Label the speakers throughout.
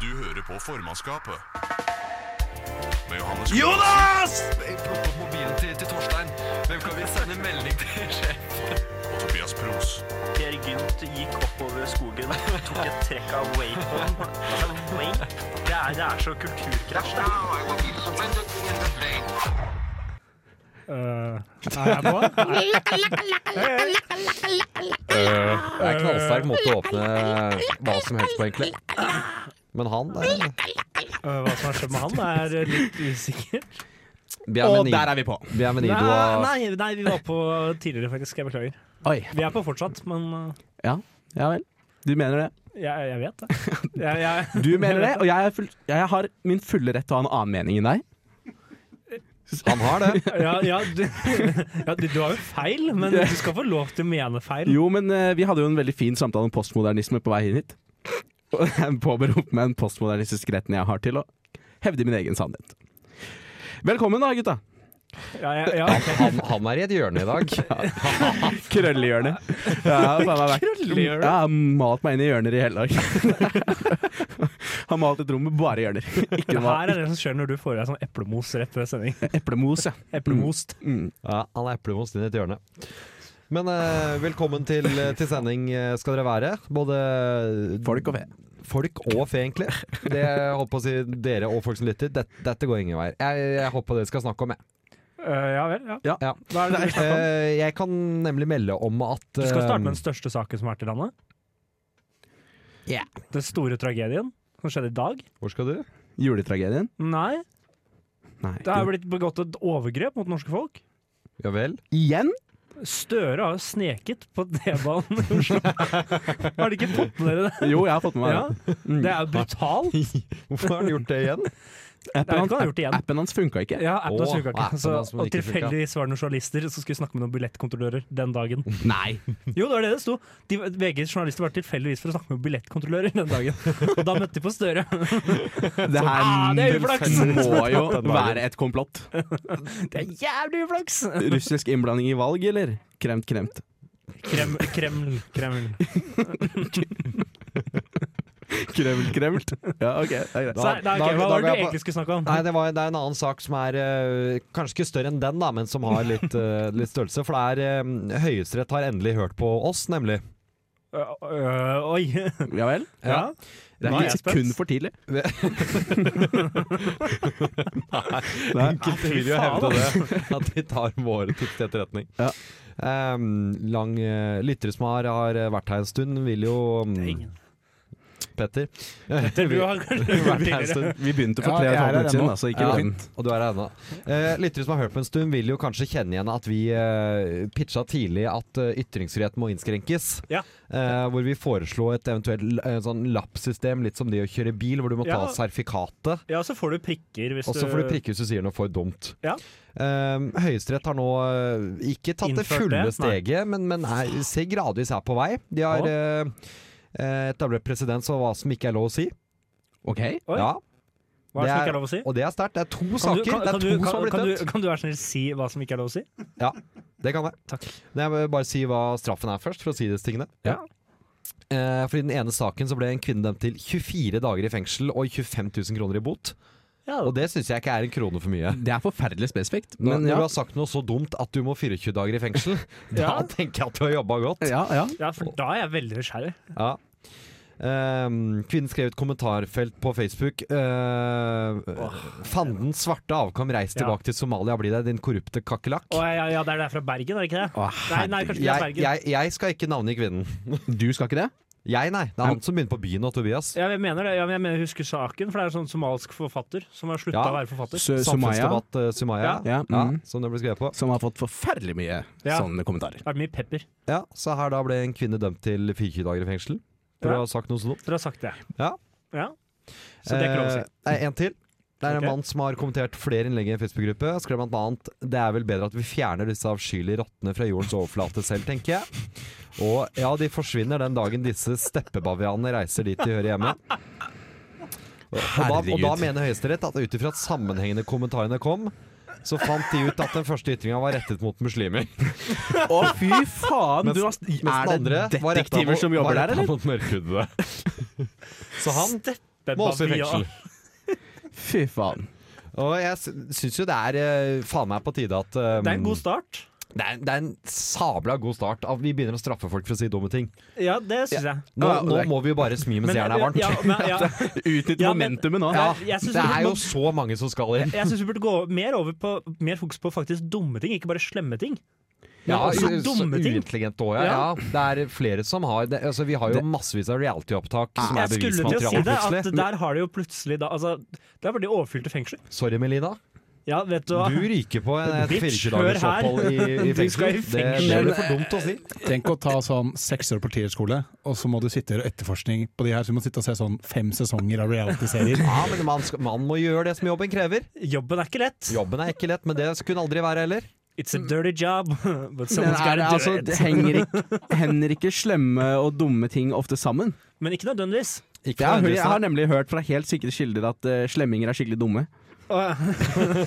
Speaker 1: Du hører på formannskapet. Med Johannes
Speaker 2: Jonas!
Speaker 3: Plukk opp mobilen til, til Torstein. Hvem kan vi sende melding til sjef?
Speaker 1: Kløvedal og Tobias Pros.
Speaker 4: Per Gynt gikk oppover skogen, tok et trekk av wapen. Altså, wake? Det er, det er så kulturkrasj. Det er.
Speaker 5: er jeg på?
Speaker 6: Eh, Det er en knallsterk måte å åpne hva som helst på, egentlig. Men han eh,
Speaker 5: Eh, hva som har skjedd med han, er eh, litt usikker.
Speaker 6: Vi er
Speaker 2: Og
Speaker 6: med,
Speaker 2: der
Speaker 6: Ni
Speaker 2: er vi på.
Speaker 6: vi er med
Speaker 5: Nei,
Speaker 6: Nido og
Speaker 5: nei, nei, vi var på tidligere, faktisk. Jeg beklager.
Speaker 2: Oi.
Speaker 5: Vi er på fortsatt, men eh,
Speaker 2: Ja, ja vel. Du mener det.
Speaker 5: jeg, jeg vet det. Jeg, jeg,
Speaker 2: Du mener det, og jeg, er full, jeg har min fulle rett til å ha en annen mening enn deg.
Speaker 6: Han har det.
Speaker 5: ja, ja, du, ja, du, du har jo feil, men du skal få lov til å mene feil.
Speaker 2: Jo, men eh, vi hadde jo en veldig fin samtale om postmodernisme på vei hit. Og jeg påberoper meg den postmodernistiske retten jeg har til å hevde min egen sannhet. Velkommen da, gutta.
Speaker 5: Ja, ja, ja, ok.
Speaker 6: Han, han er i et hjørne i dag.
Speaker 2: Krøllehjørne. Ja, faen meg vekk.
Speaker 5: Krøllehjørne?
Speaker 2: Ja, han malt meg inn i hjørner i hele dag. Han malt et rom med bare hjørner. Ikke
Speaker 5: Det
Speaker 2: noe
Speaker 5: her er det som skjer når du får i deg sånn eplemos rett før sending.
Speaker 2: eplemos, ja. Mm,
Speaker 5: Eplemost.
Speaker 6: Ja, han er eplemost inn i et hjørne. Men eh, velkommen til, til sending eh, skal dere være. Både
Speaker 2: Folk og fe.
Speaker 6: folk og fe, egentlig. Det jeg håper å si dere og folk som lytter. Dette, dette går ingen vei. Jeg, jeg håper dere skal snakke om jeg.
Speaker 5: Eh, ja vel, ja.
Speaker 6: Ja. Ja.
Speaker 5: Hva er det du vil snakke om?
Speaker 6: Eh, jeg kan nemlig melde om at eh,
Speaker 5: Du skal starte
Speaker 6: Ehm.
Speaker 5: med den største saken som har vært i landet.
Speaker 6: Ja.
Speaker 5: Den store tragedien som skjedde i dag.
Speaker 6: Hvor skal du?
Speaker 2: Juletragedien?
Speaker 5: Nei,
Speaker 2: Nei.
Speaker 5: det har blitt begått et overgrep mot norske folk.
Speaker 6: Ja vel?
Speaker 2: Igjen?
Speaker 5: Støre har jo sneket på T-banen i Oslo. Har de ikke fått med dere det?
Speaker 2: Jo, jeg har fått med meg
Speaker 5: Ja.
Speaker 6: Mm.
Speaker 5: Det er jo brutalt.
Speaker 6: Hvorfor har han gjort det igjen?
Speaker 2: det.
Speaker 5: Det er jo ikke han har gjort det igjen.
Speaker 2: appen hans funka ikke.
Speaker 5: Ja, appen
Speaker 6: Åh,
Speaker 5: hans funka
Speaker 6: appen
Speaker 5: ikke. Så,
Speaker 6: hans som
Speaker 5: og
Speaker 6: ikke funka.
Speaker 5: tilfeldigvis var det noen journalister som skulle snakke med noen billettkontrollører den dagen.
Speaker 2: Nei.
Speaker 5: Jo, det var det det sto. De, VGs journalister var tilfeldigvis for å snakke med billettkontrollører den dagen. Og da møtte de på Støre.
Speaker 2: Det her
Speaker 5: Ah, det er uflaks!
Speaker 2: må jo være et komplott.
Speaker 5: Det er jævlig uflaks!
Speaker 2: Russisk innblanding i valg, eller? Kremt, kremt.
Speaker 5: Krem, Kreml, Kreml.
Speaker 2: Krevelt, krevelt. Ja, OK. Det er greit.
Speaker 5: Så, nei,
Speaker 6: Da-
Speaker 5: ok,
Speaker 6: da-
Speaker 5: hva
Speaker 6: da
Speaker 5: var
Speaker 6: går
Speaker 5: det
Speaker 6: jeg
Speaker 5: du
Speaker 6: på-
Speaker 5: egentlig skulle snakke om?
Speaker 6: Nei, det, var, det er en annen sak som er eh, kanskje ikke større enn den, da, men som har litt, eh, litt størrelse. For det er eh, Høyesterett har endelig hørt på oss, nemlig.
Speaker 5: Ø, ø, oi.
Speaker 2: Ja vel?
Speaker 5: Ja.
Speaker 2: Det
Speaker 5: Nå er
Speaker 2: er
Speaker 5: jeg
Speaker 2: ikke et
Speaker 5: spent.
Speaker 2: sekund for tidlig. Nei.
Speaker 6: Enkelte vil jo hevde
Speaker 5: faen,
Speaker 6: det, at de tar våre tips til etterretning.
Speaker 2: Ja.
Speaker 6: Ehm, lang eh, lyttere som har, har vært her en stund, vil jo um, Petter.
Speaker 5: Det du har kanskje vært tidligere.
Speaker 2: Vi begynte for
Speaker 7: Ja,
Speaker 2: tre og
Speaker 7: jeg
Speaker 2: et
Speaker 7: er
Speaker 2: halvt minutt
Speaker 7: her
Speaker 2: siden,
Speaker 7: ennå.
Speaker 2: altså. Ikke
Speaker 6: Ja,
Speaker 2: fint.
Speaker 6: og du er her ennå. Eh, lyttere som har hørt på en stund, vil jo kanskje kjenne igjen at vi eh, pitcha tidlig at eh, ytringsfrihet må innskrenkes.
Speaker 5: Ja.
Speaker 6: Eh, hvor vi foreslo et eventuelt l- eh, sånn lappsystem, litt som det å kjøre bil, hvor du må ta
Speaker 5: Ja.
Speaker 6: sertifikatet.
Speaker 5: Ja, så får du prikker hvis
Speaker 6: Og så får du prikke hvis du sier noe for dumt.
Speaker 5: Ja.
Speaker 6: Ehm, Høyesterett har nå eh, ikke tatt det
Speaker 5: Innført
Speaker 6: fulle
Speaker 5: det? Nei.
Speaker 6: steget, men, men er, ser gradvis er på vei. De har eh, etablert presedens for hva som ikke er lov å si.
Speaker 2: OK.
Speaker 5: Oi.
Speaker 6: Ja,
Speaker 5: Hva er det som
Speaker 6: det
Speaker 5: ikke
Speaker 6: er-
Speaker 5: er lov å si?
Speaker 6: og det er sterkt. Det er to
Speaker 5: Kan
Speaker 6: saker.
Speaker 5: du, kan,
Speaker 6: det
Speaker 5: kan,
Speaker 6: er to
Speaker 5: du, kan,
Speaker 6: som har blitt
Speaker 5: kan,
Speaker 6: dømt.
Speaker 5: du, kan du være snill si hva som ikke er lov å si?
Speaker 6: Det kan jeg.
Speaker 5: Takk.
Speaker 6: Men jeg vil bare si hva straffen er først, for å si disse tingene.
Speaker 5: Ja.
Speaker 6: Eh, for I den ene saken så ble en kvinne dømt til 24 dager i fengsel og 25 000 kroner i bot.
Speaker 5: Ja,
Speaker 6: Og det syns jeg ikke er en krone for mye.
Speaker 2: Det er forferdelig spesifikt,
Speaker 6: Men
Speaker 2: men
Speaker 6: når
Speaker 2: ja.
Speaker 6: du har sagt noe så dumt at du må 24 dager i fengsel, da
Speaker 5: Ja.
Speaker 6: tenker jeg at du har jobba godt.
Speaker 2: ja, ja.
Speaker 5: ja, for da er jeg veldig nysgjerrig.
Speaker 6: Ja. Ehm, kvinnen skrev i et kommentarfelt på Facebook ehm, Fanden svarte avkom, reis
Speaker 5: Ja.
Speaker 6: tilbake til Somalia, bli deg, din korrupte kakerlakk.
Speaker 5: Å, ja, ja, det er der fra Bergen, er det ikke det? nei, nei, kanskje ikke det er
Speaker 6: Jeg,
Speaker 5: Bergen.
Speaker 6: jeg, jeg skal ikke navngi kvinnen.
Speaker 2: Du skal ikke det?
Speaker 6: Jeg, nei. Det er han som begynner på byen nå, Tobias.
Speaker 5: Ja, jeg mener det. Ja, men jeg mener, jeg husker saken, for det er en sånn somalisk forfatter som har slutta
Speaker 6: Ja.
Speaker 5: å være forfatter.
Speaker 2: Sø- Sumaya,
Speaker 6: Samfunnsdebatt eh, Sumaya,
Speaker 5: Ja.
Speaker 6: ja.
Speaker 2: Ja, mm.
Speaker 6: som det ble skrevet på.
Speaker 2: som har fått forferdelig mye
Speaker 5: Ja.
Speaker 2: sånne kommentarer.
Speaker 5: Det er mye pepper.
Speaker 6: Ja, Så her da ble en kvinne dømt til 24 dager i fengsel. For
Speaker 5: Ja.
Speaker 6: å ha sagt noe så dumt.
Speaker 5: Dere har sagt det.
Speaker 6: Ja.
Speaker 5: ja. Så det er ikke lov å si.
Speaker 6: Eh, nei, en til. Det er en
Speaker 5: Ok.
Speaker 6: mann som har kommentert flere innlegg i en Facebook-gruppe. Skrev blant annet Det er vel bedre at vi fjerner disse avskyelige rottene fra jordens overflate selv, tenker jeg. Og ja, de forsvinner den dagen disse steppebavianene reiser dit de hører hjemme. Og da, og da
Speaker 2: Herregud.
Speaker 6: mener Høyesterett at ut ifra at sammenhengende kommentarene kom, så fant de ut at den første ytringa var rettet mot muslimer.
Speaker 2: Å, fy faen!
Speaker 6: Mens-
Speaker 2: du har,
Speaker 6: Mens den
Speaker 2: er det
Speaker 6: andre var rettet
Speaker 2: detektiver
Speaker 6: mot-
Speaker 2: som
Speaker 6: var
Speaker 2: jobber der,
Speaker 6: rettet
Speaker 2: eller?
Speaker 6: Mot mørkhudede. Så han
Speaker 5: Den
Speaker 6: Måse i fengsel.
Speaker 5: bavian-
Speaker 2: Fy faen.
Speaker 6: Og jeg sy- syns jo det er eh, faen meg på tide at eh,
Speaker 5: Det er en god start.
Speaker 6: det er, det er en sabla god start. At vi begynner å straffe folk for å si dumme ting.
Speaker 5: Ja, det syns jeg.
Speaker 6: Nå,
Speaker 2: Ja,
Speaker 6: nå
Speaker 2: det er-
Speaker 6: må vi jo bare smi mens jernet er varmt.
Speaker 5: Ja, men, ja.
Speaker 2: Utnytt
Speaker 5: Ja, men-
Speaker 2: momentumet nå.
Speaker 6: Ja,
Speaker 5: jeg synes
Speaker 6: det
Speaker 5: vi
Speaker 6: er jo
Speaker 5: må-
Speaker 6: så mange som skal inn.
Speaker 5: Jeg syns vi burde gå mer over på mer fokus på faktisk dumme ting, ikke bare slemme ting.
Speaker 6: Ja,
Speaker 5: også altså, dumme ting.
Speaker 6: Uintelligent òg, ja. ja.
Speaker 5: Ja.
Speaker 6: Det er flere som har det, altså, Vi har jo massevis av reality-opptak som er
Speaker 5: Jeg skulle til å si
Speaker 6: bevismateriale,
Speaker 5: det, at
Speaker 6: plutselig.
Speaker 5: der har de jo plutselig da altså, Der var de overfylte fengsler.
Speaker 6: Sorry, Melina.
Speaker 5: Ja, vet du hva.
Speaker 6: Du ryker på en- et
Speaker 5: Bitch,
Speaker 6: 24-dagers
Speaker 5: hør her.
Speaker 6: opphold i, i
Speaker 5: Du skal i
Speaker 6: fengsel. Det,
Speaker 5: fengsel.
Speaker 6: det blir for dumt å si.
Speaker 8: Tenk å ta sånn seks år på politihøgskole, og så må du sitte og gjøre etterforskning på de her. Så du må sitte og se sånn fem sesonger av reality-serier.
Speaker 6: Ja, men man, skal, man må gjøre det som jobben krever.
Speaker 5: Jobben er ikke lett.
Speaker 6: Jobben er ikke lett, men det kunne aldri være heller.
Speaker 5: It's a dirty job, but
Speaker 2: Men
Speaker 5: someone's
Speaker 2: er det,
Speaker 5: gotta
Speaker 2: altså,
Speaker 5: do it.
Speaker 2: det henger, ikke, henger ikke slemme og dumme ting ofte sammen?
Speaker 5: Men ikke nødvendigvis.
Speaker 2: Jeg har, jeg har nemlig hørt fra helt sikre kilder at eh, slemminger er skikkelig dumme.
Speaker 5: Å,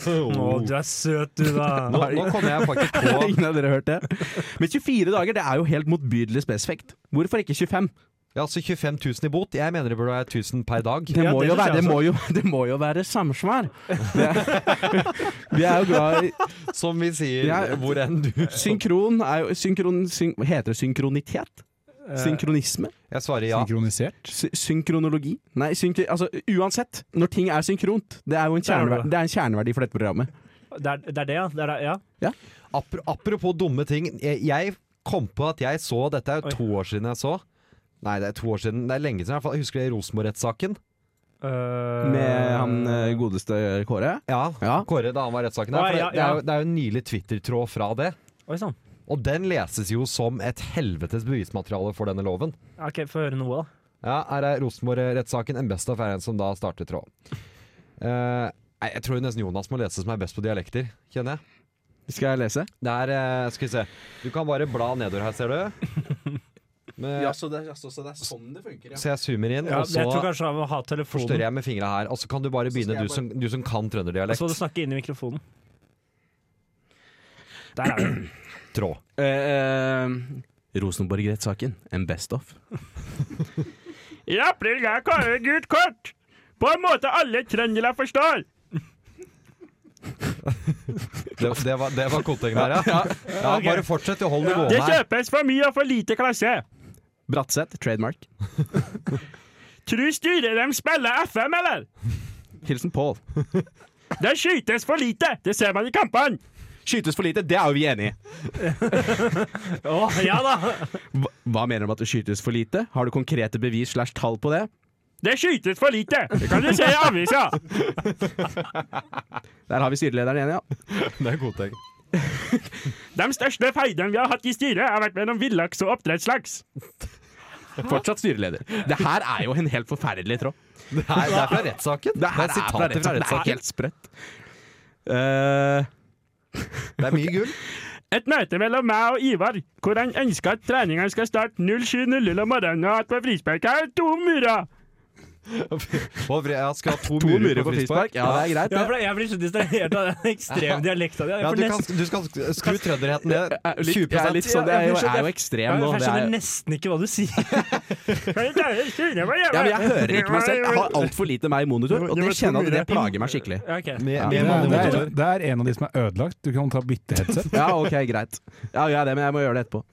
Speaker 6: Oh.
Speaker 5: du er søt, du,
Speaker 6: Nå,
Speaker 5: da.
Speaker 6: nå kommer jeg faktisk på
Speaker 2: Ingen av dere har hørt det? Men 24 dager det er jo helt motbydelig spesifikt. Hvorfor ikke 25?
Speaker 6: ja, altså 25 000 i bot. Jeg mener det burde være 1000 per dag.
Speaker 2: Det
Speaker 5: Ja,
Speaker 2: må,
Speaker 5: det
Speaker 2: jo
Speaker 5: synes
Speaker 2: være,
Speaker 5: jeg
Speaker 2: det,
Speaker 5: også.
Speaker 2: må jo, det må jo være samsvar. Det er- Vi er jo glad i
Speaker 6: Som vi sier
Speaker 2: Ja.
Speaker 6: hvor enn du
Speaker 2: Synkron er jo synkron, syn, Heter det synkronitet?
Speaker 5: Eh,
Speaker 2: Synkronisme?
Speaker 6: Jeg svarer ja.
Speaker 8: Synkronisert.
Speaker 2: Eh, Sy synkronologi? Nei, synkri, altså uansett. Når ting er synkront, det er jo
Speaker 5: er
Speaker 2: en
Speaker 5: det
Speaker 2: kjerneverdi,
Speaker 5: bra.
Speaker 2: det er en kjerneverdi for dette programmet.
Speaker 5: Det er, det er det, ja. Det er, det- ja.
Speaker 6: Apro- Apropos dumme ting. Jeg, jeg kom på at jeg så Dette er jo
Speaker 5: Oi.
Speaker 6: to år siden jeg så. Nei, det er to år siden. Det er lenge siden. i hvert fall. Jeg husker det i Rosenborg-rettssaken.
Speaker 5: Øh,
Speaker 2: Eh, Med han eh, godeste Kåre.
Speaker 6: Ja.
Speaker 2: Ja.
Speaker 6: Kåre da han var i rettssaken der.
Speaker 5: Å,
Speaker 6: For det,
Speaker 5: ja,
Speaker 6: det, er
Speaker 5: ja.
Speaker 6: jo, det er jo en nylig Twitter-tråd fra det.
Speaker 5: Oi sånn. sann.
Speaker 6: Og den leses jo som et helvetes bevismateriale for denne loven.
Speaker 5: OK, få høre noe, da.
Speaker 6: Ja, her er Rosenborg-rettssaken en best affære som da starter tråden. Eh, nei, jeg tror nesten Jonas må lese som er best på dialekter, kjenner jeg.
Speaker 2: Skal jeg lese?
Speaker 6: Det er, eh, skal vi se Du kan bare bla nedover her, ser du. Med,
Speaker 2: så det, er sånn det funker,
Speaker 6: Så jeg zoomer inn,
Speaker 5: Ja,
Speaker 6: og
Speaker 5: jeg tror
Speaker 6: så
Speaker 5: kanskje han må ha telefonen,
Speaker 6: forstørrer jeg med fingra her. Og så kan du bare begynne,
Speaker 2: skal jeg
Speaker 6: du som, du som kan
Speaker 5: og så må du
Speaker 6: trønderdialekt.
Speaker 5: snakke inn i mikrofonen. Der er det.
Speaker 6: Trå.
Speaker 2: eh, Rosenborg-rettssaken. En best of.
Speaker 5: I april ga Kåre gult kort! På en måte alle trøndere forstår!
Speaker 6: Det, det var, det var kotingen der, ja. ja bare fortsett, du holder det gående her.
Speaker 5: kjøpes for mye og for lite klasse.
Speaker 2: Bratseth, trademark.
Speaker 5: Tru styret dem spiller FM, eller?
Speaker 2: Hilsen Pål.
Speaker 5: Det skytes for lite! Det ser man i kampene!
Speaker 2: Skytes for lite, det er jo vi enig i.
Speaker 5: Å, ja da!
Speaker 2: Hva, hva mener du om at det skytes for lite? Har du konkrete bevis slash tall på det?
Speaker 5: Det skytes for lite! Det kan du se i avisa!
Speaker 2: Der har vi styrelederen igjen, ja.
Speaker 6: Det er kotingen.
Speaker 5: De største feidene vi har hatt i styret, har vært mellom villaks og oppdrettslaks.
Speaker 2: Fortsatt styreleder. Det her er jo en helt forferdelig tråd.
Speaker 6: Det er, det er fra rettssaken. Det er sitater fra
Speaker 2: Det er
Speaker 6: rettssaken.
Speaker 2: helt sprøtt. Eh,
Speaker 6: Det er mye gull.
Speaker 5: Et møte mellom meg og Ivar, hvor han ønsker at treninga skal starte 07.00 om morgenen, og at på frisparket er det to murer.
Speaker 6: Og vri- Jeg skal ha to,
Speaker 2: to murer på frispark. Ja, det er greit.
Speaker 5: Ja,
Speaker 2: det.
Speaker 5: for jeg blir så distrahert av den ekstreme dialekta di.
Speaker 2: Eh,
Speaker 6: Ja, du, kan, du skal skru trønderheten ned
Speaker 2: Jeg er
Speaker 6: 20
Speaker 2: litt- jeg er litt sånn, det er jo, jeg er jo ekstrem nå. Det er,
Speaker 5: nesten ikke hva du sier.
Speaker 2: ja, men jeg hører ikke meg selv. Jeg har altfor lite meg i monitor, og det kjenner jeg at det plager meg skikkelig.
Speaker 6: Med,
Speaker 8: Det
Speaker 6: med
Speaker 8: er, det,
Speaker 6: mannemotor.
Speaker 8: er, det er en av de som er ødelagt. Du kan ta bytte headset.
Speaker 2: Ja, OK, greit. Ja, gjør jeg det, men jeg må gjøre det etterpå.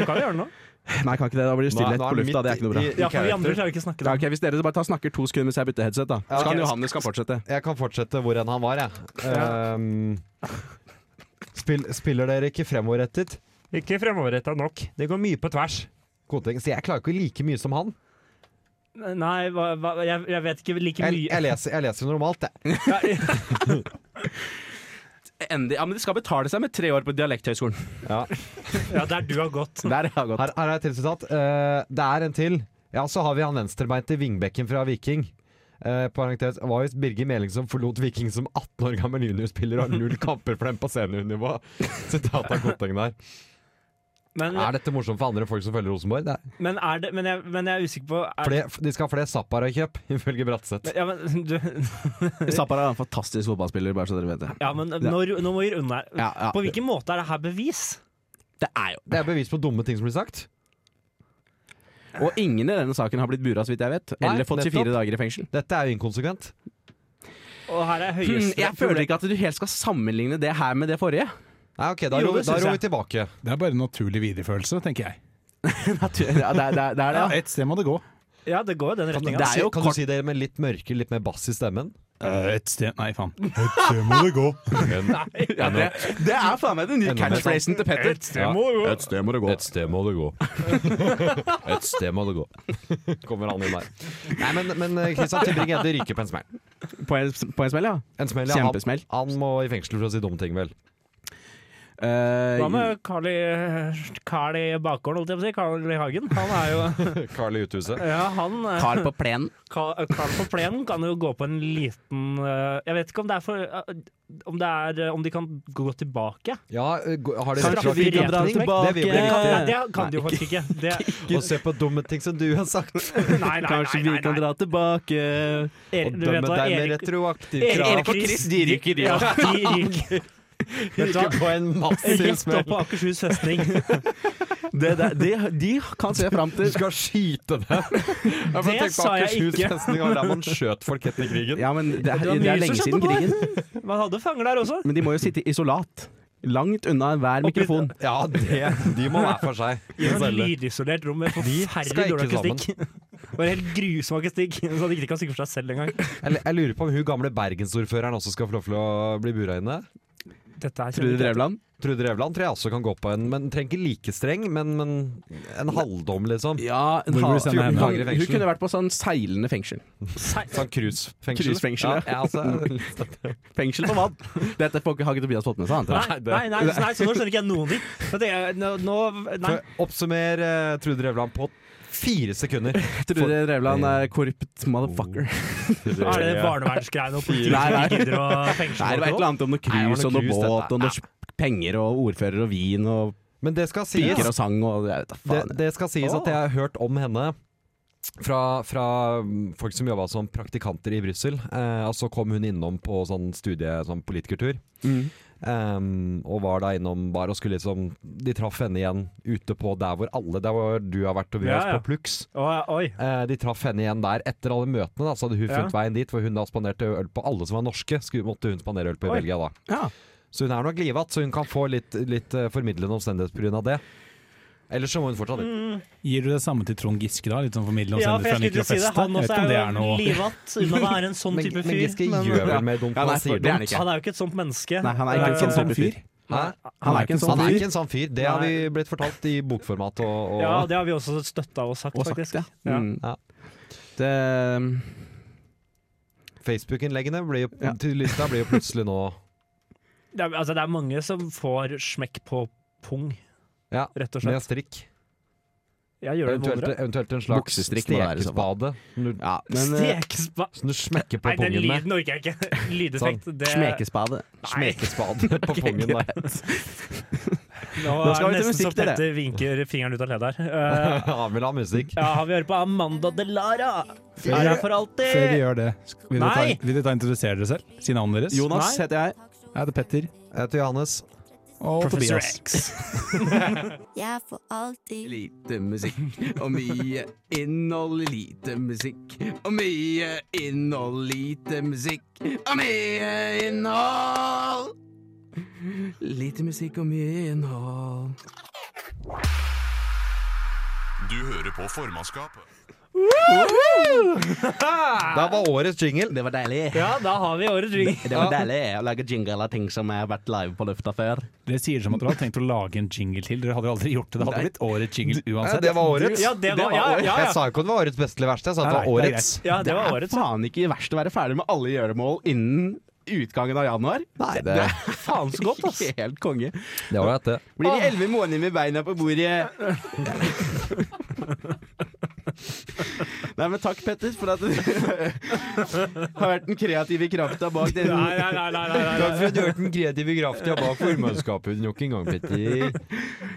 Speaker 5: Du kan jo gjøre det nå.
Speaker 2: Nei, jeg kan ikke det. Da blir det stillhet på lufta. Det er ikke noe bra.
Speaker 5: Ja, for vi andre klarer ikke å snakke
Speaker 2: Ja,
Speaker 5: da.
Speaker 2: ok, Hvis dere bare tar snakker to sekunder mens jeg bytter headset, da. Så
Speaker 6: ok.
Speaker 2: kan Johannes kan fortsette.
Speaker 6: Jeg kan fortsette hvor enn han var, jeg. Ehm, spill, spiller dere ikke fremoverrettet?
Speaker 5: Ikke fremoverretta nok. Det går mye på tvers.
Speaker 6: Godting. Så jeg klarer ikke like mye som han.
Speaker 5: Nei, hva, hva, jeg, jeg vet ikke like
Speaker 6: Jeg,
Speaker 5: mye.
Speaker 6: jeg, leser, jeg leser normalt, jeg.
Speaker 2: Endelig. Ja, men det skal betale seg med tre år på Dialekthøgskolen.
Speaker 6: Ja.
Speaker 5: Ja, der du har gått.
Speaker 2: Der har jeg gått.
Speaker 6: Her, her er et til sitat. Eh, det er en til. Ja, så har vi han venstrebeinte vingbekken fra Viking. Uh, parentes, var jo Birger Meling som forlot Viking som 18 år gammel juniorspiller og har null kamper for dem på seniornivå. Sitat av Godting der.
Speaker 5: Men,
Speaker 6: Er dette morsomt for andre folk som følger Rosenborg? Det er.
Speaker 5: men, er det, men, jeg, men jeg er usikker på er,
Speaker 6: Fle, de skal ha flere Zappara-kjøp, ifølge Bratseth.
Speaker 5: ja, men, du,
Speaker 2: Zappara er en fantastisk fotballspiller, bare så dere vet det.
Speaker 5: ja, men nå, nå må vi runde her.
Speaker 2: Ja, ja.
Speaker 5: På hvilken måte er det her bevis?
Speaker 2: Det er jo
Speaker 6: Det er bevis på dumme ting som blir sagt.
Speaker 2: Og ingen i denne saken har blitt bura, så vidt jeg vet.
Speaker 6: Nei,
Speaker 2: Eller fått 24
Speaker 6: nettopp.
Speaker 2: dager i fengsel.
Speaker 6: Dette er jo inkonsekvent.
Speaker 5: Og her er
Speaker 2: Hmm,
Speaker 5: høyesterett
Speaker 2: jeg føler ikke at du helt skal sammenligne det her med det forrige.
Speaker 6: Nei, ok, Da
Speaker 8: Jo,
Speaker 6: rår vi, da
Speaker 8: det synes
Speaker 6: rår vi
Speaker 8: jeg.
Speaker 6: tilbake.
Speaker 8: Det er bare en naturlig videreførelse, tenker jeg.
Speaker 2: Natur- ja, det, er- det, er- det er det,
Speaker 8: Ja,
Speaker 2: ja.
Speaker 8: Et sted må det gå.
Speaker 5: Ja, det går jo den altså.
Speaker 6: Kan,
Speaker 5: retninga.
Speaker 6: du
Speaker 2: Det er
Speaker 6: si-
Speaker 2: jo
Speaker 6: kan
Speaker 2: kort-
Speaker 6: du si det med litt mørke, litt mer bass i stemmen?
Speaker 8: Et Eh, sted Nei, faen. Et sted må det gå.
Speaker 2: ja det, det er faen meg den nye catchphrasen til Petter.
Speaker 6: Ja.
Speaker 2: Et sted må det
Speaker 6: Et sted må det gå. Et sted må det gå. Kommer han inn der. Nei, men, men eh, Christian Tybring-Gjedde ryker på en smell.
Speaker 2: På en, på en smell, ja.
Speaker 6: En smell, ja. Han,
Speaker 2: Kjempesmell.
Speaker 6: han må i fengsel for å si dumme ting, vel.
Speaker 2: Eh,
Speaker 5: Hva med Carl i, eh, Carl i bakgården, holdt jeg på å si? Carl i Hagen. Han er jo
Speaker 6: Carl i uthuset.
Speaker 5: Ja, han eh,
Speaker 2: Carl på plenen.
Speaker 5: Ka- Carl på plenen kan jo gå på en liten eh, Jeg vet ikke om det er for eh, Om, det er, eh, om de kan gå tilbake.
Speaker 6: Ja, eh, gå- har det
Speaker 5: Kanskje
Speaker 6: retroaktiv
Speaker 5: vi kan dra
Speaker 6: virkning? Det
Speaker 2: tilbake.
Speaker 6: vil bli
Speaker 5: Det kan, nei,
Speaker 6: riktig.
Speaker 5: det kan de jo faktisk ikke. Det,
Speaker 6: Og se på dumme ting som du har sagt.
Speaker 5: nei, nei, nei,
Speaker 2: Kanskje
Speaker 5: nei,
Speaker 2: vi kan
Speaker 5: nei.
Speaker 2: dra tilbake
Speaker 5: Er,
Speaker 6: Og
Speaker 5: du
Speaker 6: dømme
Speaker 5: vet
Speaker 6: deg
Speaker 5: hva,
Speaker 6: med
Speaker 5: Erik,
Speaker 6: retroaktiv
Speaker 5: Erik,
Speaker 6: krav.
Speaker 5: og Chris,
Speaker 2: Chris, de ryker, de,
Speaker 5: ja. De ryker. Vet du hva?
Speaker 6: Ryker på en massiv
Speaker 5: Rett opp
Speaker 6: smell.
Speaker 5: på Akershus festning.
Speaker 2: Det der- det- de kan se fram
Speaker 6: Du
Speaker 2: til
Speaker 6: skal skyte deg.
Speaker 5: Det sa jeg ikke.
Speaker 6: Det var der man skjøt folk etter krigen.
Speaker 2: Ja, men det, er-
Speaker 5: Det var
Speaker 2: det er
Speaker 5: mye
Speaker 2: lenge
Speaker 5: som skjedde
Speaker 2: siden
Speaker 5: på
Speaker 2: krigen.
Speaker 5: Man hadde fanger der også.
Speaker 2: Men de må jo sitte i isolat. Langt unna enhver mikrofon.
Speaker 6: Ja, det, de må være for seg.
Speaker 5: I et lydisolert rom med forferdelig
Speaker 6: skal
Speaker 5: dårlig
Speaker 6: ikke
Speaker 5: akustikk. Det var helt grusom akustikk, så de ikke kan synge for seg selv engang.
Speaker 6: Jeg, jeg lurer på om hun gamle bergensordføreren også skal få lov til å bli bura inne.
Speaker 5: Dette er
Speaker 2: Trude Drevland.
Speaker 6: Trude Drevland tror jeg også kan gå på en, men trenger ikke like streng, men, men en halvdom, liksom.
Speaker 2: Ja, en
Speaker 8: Hvor vil
Speaker 2: ha-
Speaker 8: du sende
Speaker 2: 14 dager i
Speaker 8: henne?
Speaker 6: Hun
Speaker 2: fengsel. Hun kunne
Speaker 6: kunne
Speaker 2: vært på sånn seilende fengsel.
Speaker 6: Sånn cruisefengsel.
Speaker 2: Cruisefengsel, ja.
Speaker 6: ja. altså,
Speaker 2: Fengsel på vann! Dette folk har ikke Tobias fått med seg, antar jeg.
Speaker 5: Nei, nei, nei, nei, så nå skjønner ikke jeg noen ting. For det er- Nå, nå nei.
Speaker 6: For Oppsummer eh, Trude Drevland på fire sekunder.
Speaker 2: Trude Drevland er korrupt motherfucker.
Speaker 5: Er det det barnevernsgreiene og politiet
Speaker 2: Nei,
Speaker 5: som
Speaker 2: nei.
Speaker 5: ikke gidder å fengsle
Speaker 2: Nei, det var et
Speaker 5: folk
Speaker 2: eller annet om noe
Speaker 6: Nei,
Speaker 2: cruise
Speaker 6: det var
Speaker 2: og
Speaker 6: noe
Speaker 2: noe
Speaker 6: cruise,
Speaker 2: båt
Speaker 6: dette.
Speaker 2: og noe sj- penger og ordfører og vin og
Speaker 6: Men det skal sies,
Speaker 2: piker og sang og jeg vet da
Speaker 6: det,
Speaker 2: faen.
Speaker 6: det skal sies at jeg har hørt om henne fra, fra mm, folk som jobba som praktikanter i Brussel. Eh, og så kom hun innom på sånn studie, sånn politikertur.
Speaker 2: Mm.
Speaker 6: Ehm, og var da innom bar og skulle liksom De traff henne igjen ute på der hvor alle Der hvor du har vært, Tobias,
Speaker 5: Ja, ja.
Speaker 6: på Plux.
Speaker 5: Å, Oi.
Speaker 6: Eh, de traff henne igjen der etter alle møtene. Da, så hadde hun
Speaker 5: Ja.
Speaker 6: funnet veien dit, for hun da spanderte øl på alle som var norske. Skulle, måtte hun spandere øl på i
Speaker 5: Oi.
Speaker 6: Belgia da.
Speaker 2: Ja.
Speaker 6: Så hun er nok livat, så hun kan få litt, litt eh, formidlende omstendigheter pga. det. Ellers så må hun fortsatt
Speaker 8: Gir du det samme til Trond Giske, da? Litt sånn formidlende
Speaker 5: Ja, for
Speaker 8: omstendigheter
Speaker 5: jeg
Speaker 8: han
Speaker 5: skulle til å si det.
Speaker 8: liker å feste?
Speaker 5: Han
Speaker 8: Jeg vet
Speaker 5: også
Speaker 8: ikke om det
Speaker 5: er
Speaker 8: er
Speaker 5: jo
Speaker 8: noe
Speaker 5: livatt, unna å være en sånn
Speaker 6: Men,
Speaker 5: type
Speaker 6: men Giske
Speaker 5: fyr. men-
Speaker 6: gjør vel mer dumt
Speaker 2: Ja,
Speaker 6: enn
Speaker 2: nei,
Speaker 6: han sier
Speaker 2: det er han
Speaker 6: dumt?
Speaker 2: ikke.
Speaker 5: Han er jo ikke et sånt menneske.
Speaker 2: Nei, han er ikke en
Speaker 5: Eh,
Speaker 2: sånn fyr.
Speaker 6: Hæ?
Speaker 2: Han er ikke en sånn
Speaker 6: Han er
Speaker 2: fyr.
Speaker 6: ikke en sånn fyr. Det har vi blitt fortalt i bokformat og, og
Speaker 5: Ja, det har vi også støtta og sagt,
Speaker 2: Og sagt,
Speaker 5: faktisk.
Speaker 2: ja.
Speaker 5: Ja.
Speaker 2: Mm.
Speaker 6: Ja.
Speaker 2: Det
Speaker 6: Facebook-innleggene. blir jo-
Speaker 2: Ja.
Speaker 6: Til lista blir jo plutselig nå
Speaker 5: Det er, altså, det er mange som får smekk på pung,
Speaker 6: Ja,
Speaker 5: rett og
Speaker 6: med
Speaker 5: slett.
Speaker 6: strikk.
Speaker 5: Jeg gjør det
Speaker 6: Eventuelt, eh,
Speaker 5: vondere.
Speaker 6: eventuelt en slags
Speaker 2: Buksestrikk må det være i så fall.
Speaker 6: stekespade. Som du,
Speaker 2: Ja, men eh,
Speaker 5: Stekespa...
Speaker 6: som du smekker på
Speaker 5: Nei, den
Speaker 6: pungen med.
Speaker 5: lyden orker jeg ikke. Lydeffekt, det
Speaker 2: Smekespade.
Speaker 5: Nei.
Speaker 6: Smekespade på pungen der.
Speaker 5: Nå
Speaker 2: Da
Speaker 5: er
Speaker 2: skal vi
Speaker 5: det
Speaker 2: til
Speaker 5: nesten så
Speaker 2: musikk, dere.
Speaker 5: Petter vinker fingeren ut av ledet her. Eh,
Speaker 6: Han vil ha musikk.
Speaker 5: ja, vi hører på Amanda Delara.
Speaker 8: Før-
Speaker 5: Er her for
Speaker 8: Før vi
Speaker 5: alltid.
Speaker 8: gjør det, vil dere
Speaker 5: Nei!
Speaker 8: ta, vil dere ta introdusere dere selv? Si navnet deres.
Speaker 2: Jonas
Speaker 5: Nei.
Speaker 2: heter jeg.
Speaker 8: Jeg heter Petter.
Speaker 6: Jeg heter Johannes.
Speaker 8: Og
Speaker 5: Professor
Speaker 8: Tobias.
Speaker 5: X.
Speaker 9: Jeg er for alltid
Speaker 2: Lite musikk og mye innhold. Lite musikk og mye innhold. Lite musikk og mye innhold. Lite musikk og mye innhold.
Speaker 1: Du hører på formannskapet.
Speaker 6: Da var årets jingle.
Speaker 2: Det var deilig.
Speaker 5: Ja, da har vi årets ring.
Speaker 2: Det var deilig å lage jingle av ting som har vært live på lufta før.
Speaker 8: Dere sier som at dere hadde tenkt å lage en jingle til. Dere hadde jo aldri gjort det. Det hadde blitt årets jingle
Speaker 6: Ja,
Speaker 8: uansett.
Speaker 6: Eh, det var årets.
Speaker 5: Ja, det var, ja, ja,
Speaker 6: Jeg
Speaker 5: ja.
Speaker 6: sa ikke at det var årets beste eller verste, jeg sa at det var
Speaker 8: Nei, nei,
Speaker 6: årets.
Speaker 5: ja, det var årets.
Speaker 2: faen ikke verst å være ferdig med alle gjøremål innen utgangen av januar.
Speaker 6: Nei, det,
Speaker 2: Det er faen så godt, ass. Helt konge.
Speaker 6: det var greit, det.
Speaker 2: Blir det elleve måneder med beina på bordet? Nei, men takk, Petter, for at du har vært den kreative krafta bak den.
Speaker 5: Nei, nei, nei, nei, nei, nei.
Speaker 6: Takk for at du hørte den kreative kraften jeg bak formannskapet nok en gang, Petter.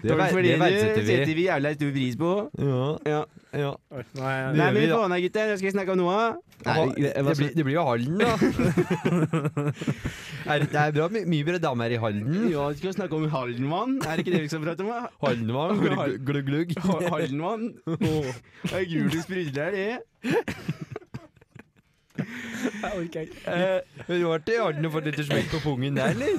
Speaker 6: Det, ver-
Speaker 2: Fordi
Speaker 6: det
Speaker 2: det
Speaker 6: verdsetter
Speaker 2: setter
Speaker 6: vi.
Speaker 2: vi jævla stor pris på.
Speaker 6: Ja,
Speaker 2: Ja.
Speaker 6: ja.
Speaker 5: Oi, nå er jeg-
Speaker 2: Nei, men
Speaker 6: vi da.
Speaker 2: få ned, gutter. Jeg skal snakke om noe.
Speaker 6: Aha,
Speaker 2: Nei,
Speaker 6: det,
Speaker 2: hva
Speaker 6: blir, det blir jo Halden, da. er, det er bra, my- mye bedre damer i Halden.
Speaker 2: Mm. Ja, vi skal snakke om Haldenmann. Er det ikke det vi skal prate om? da?
Speaker 6: Halden var glugg, glugg, glugg.
Speaker 2: Ha- Haldenmann. Det er gult og sprudler, er det.
Speaker 6: Eh, Men du har til Halden og fått litt smekk på pungen der, eller?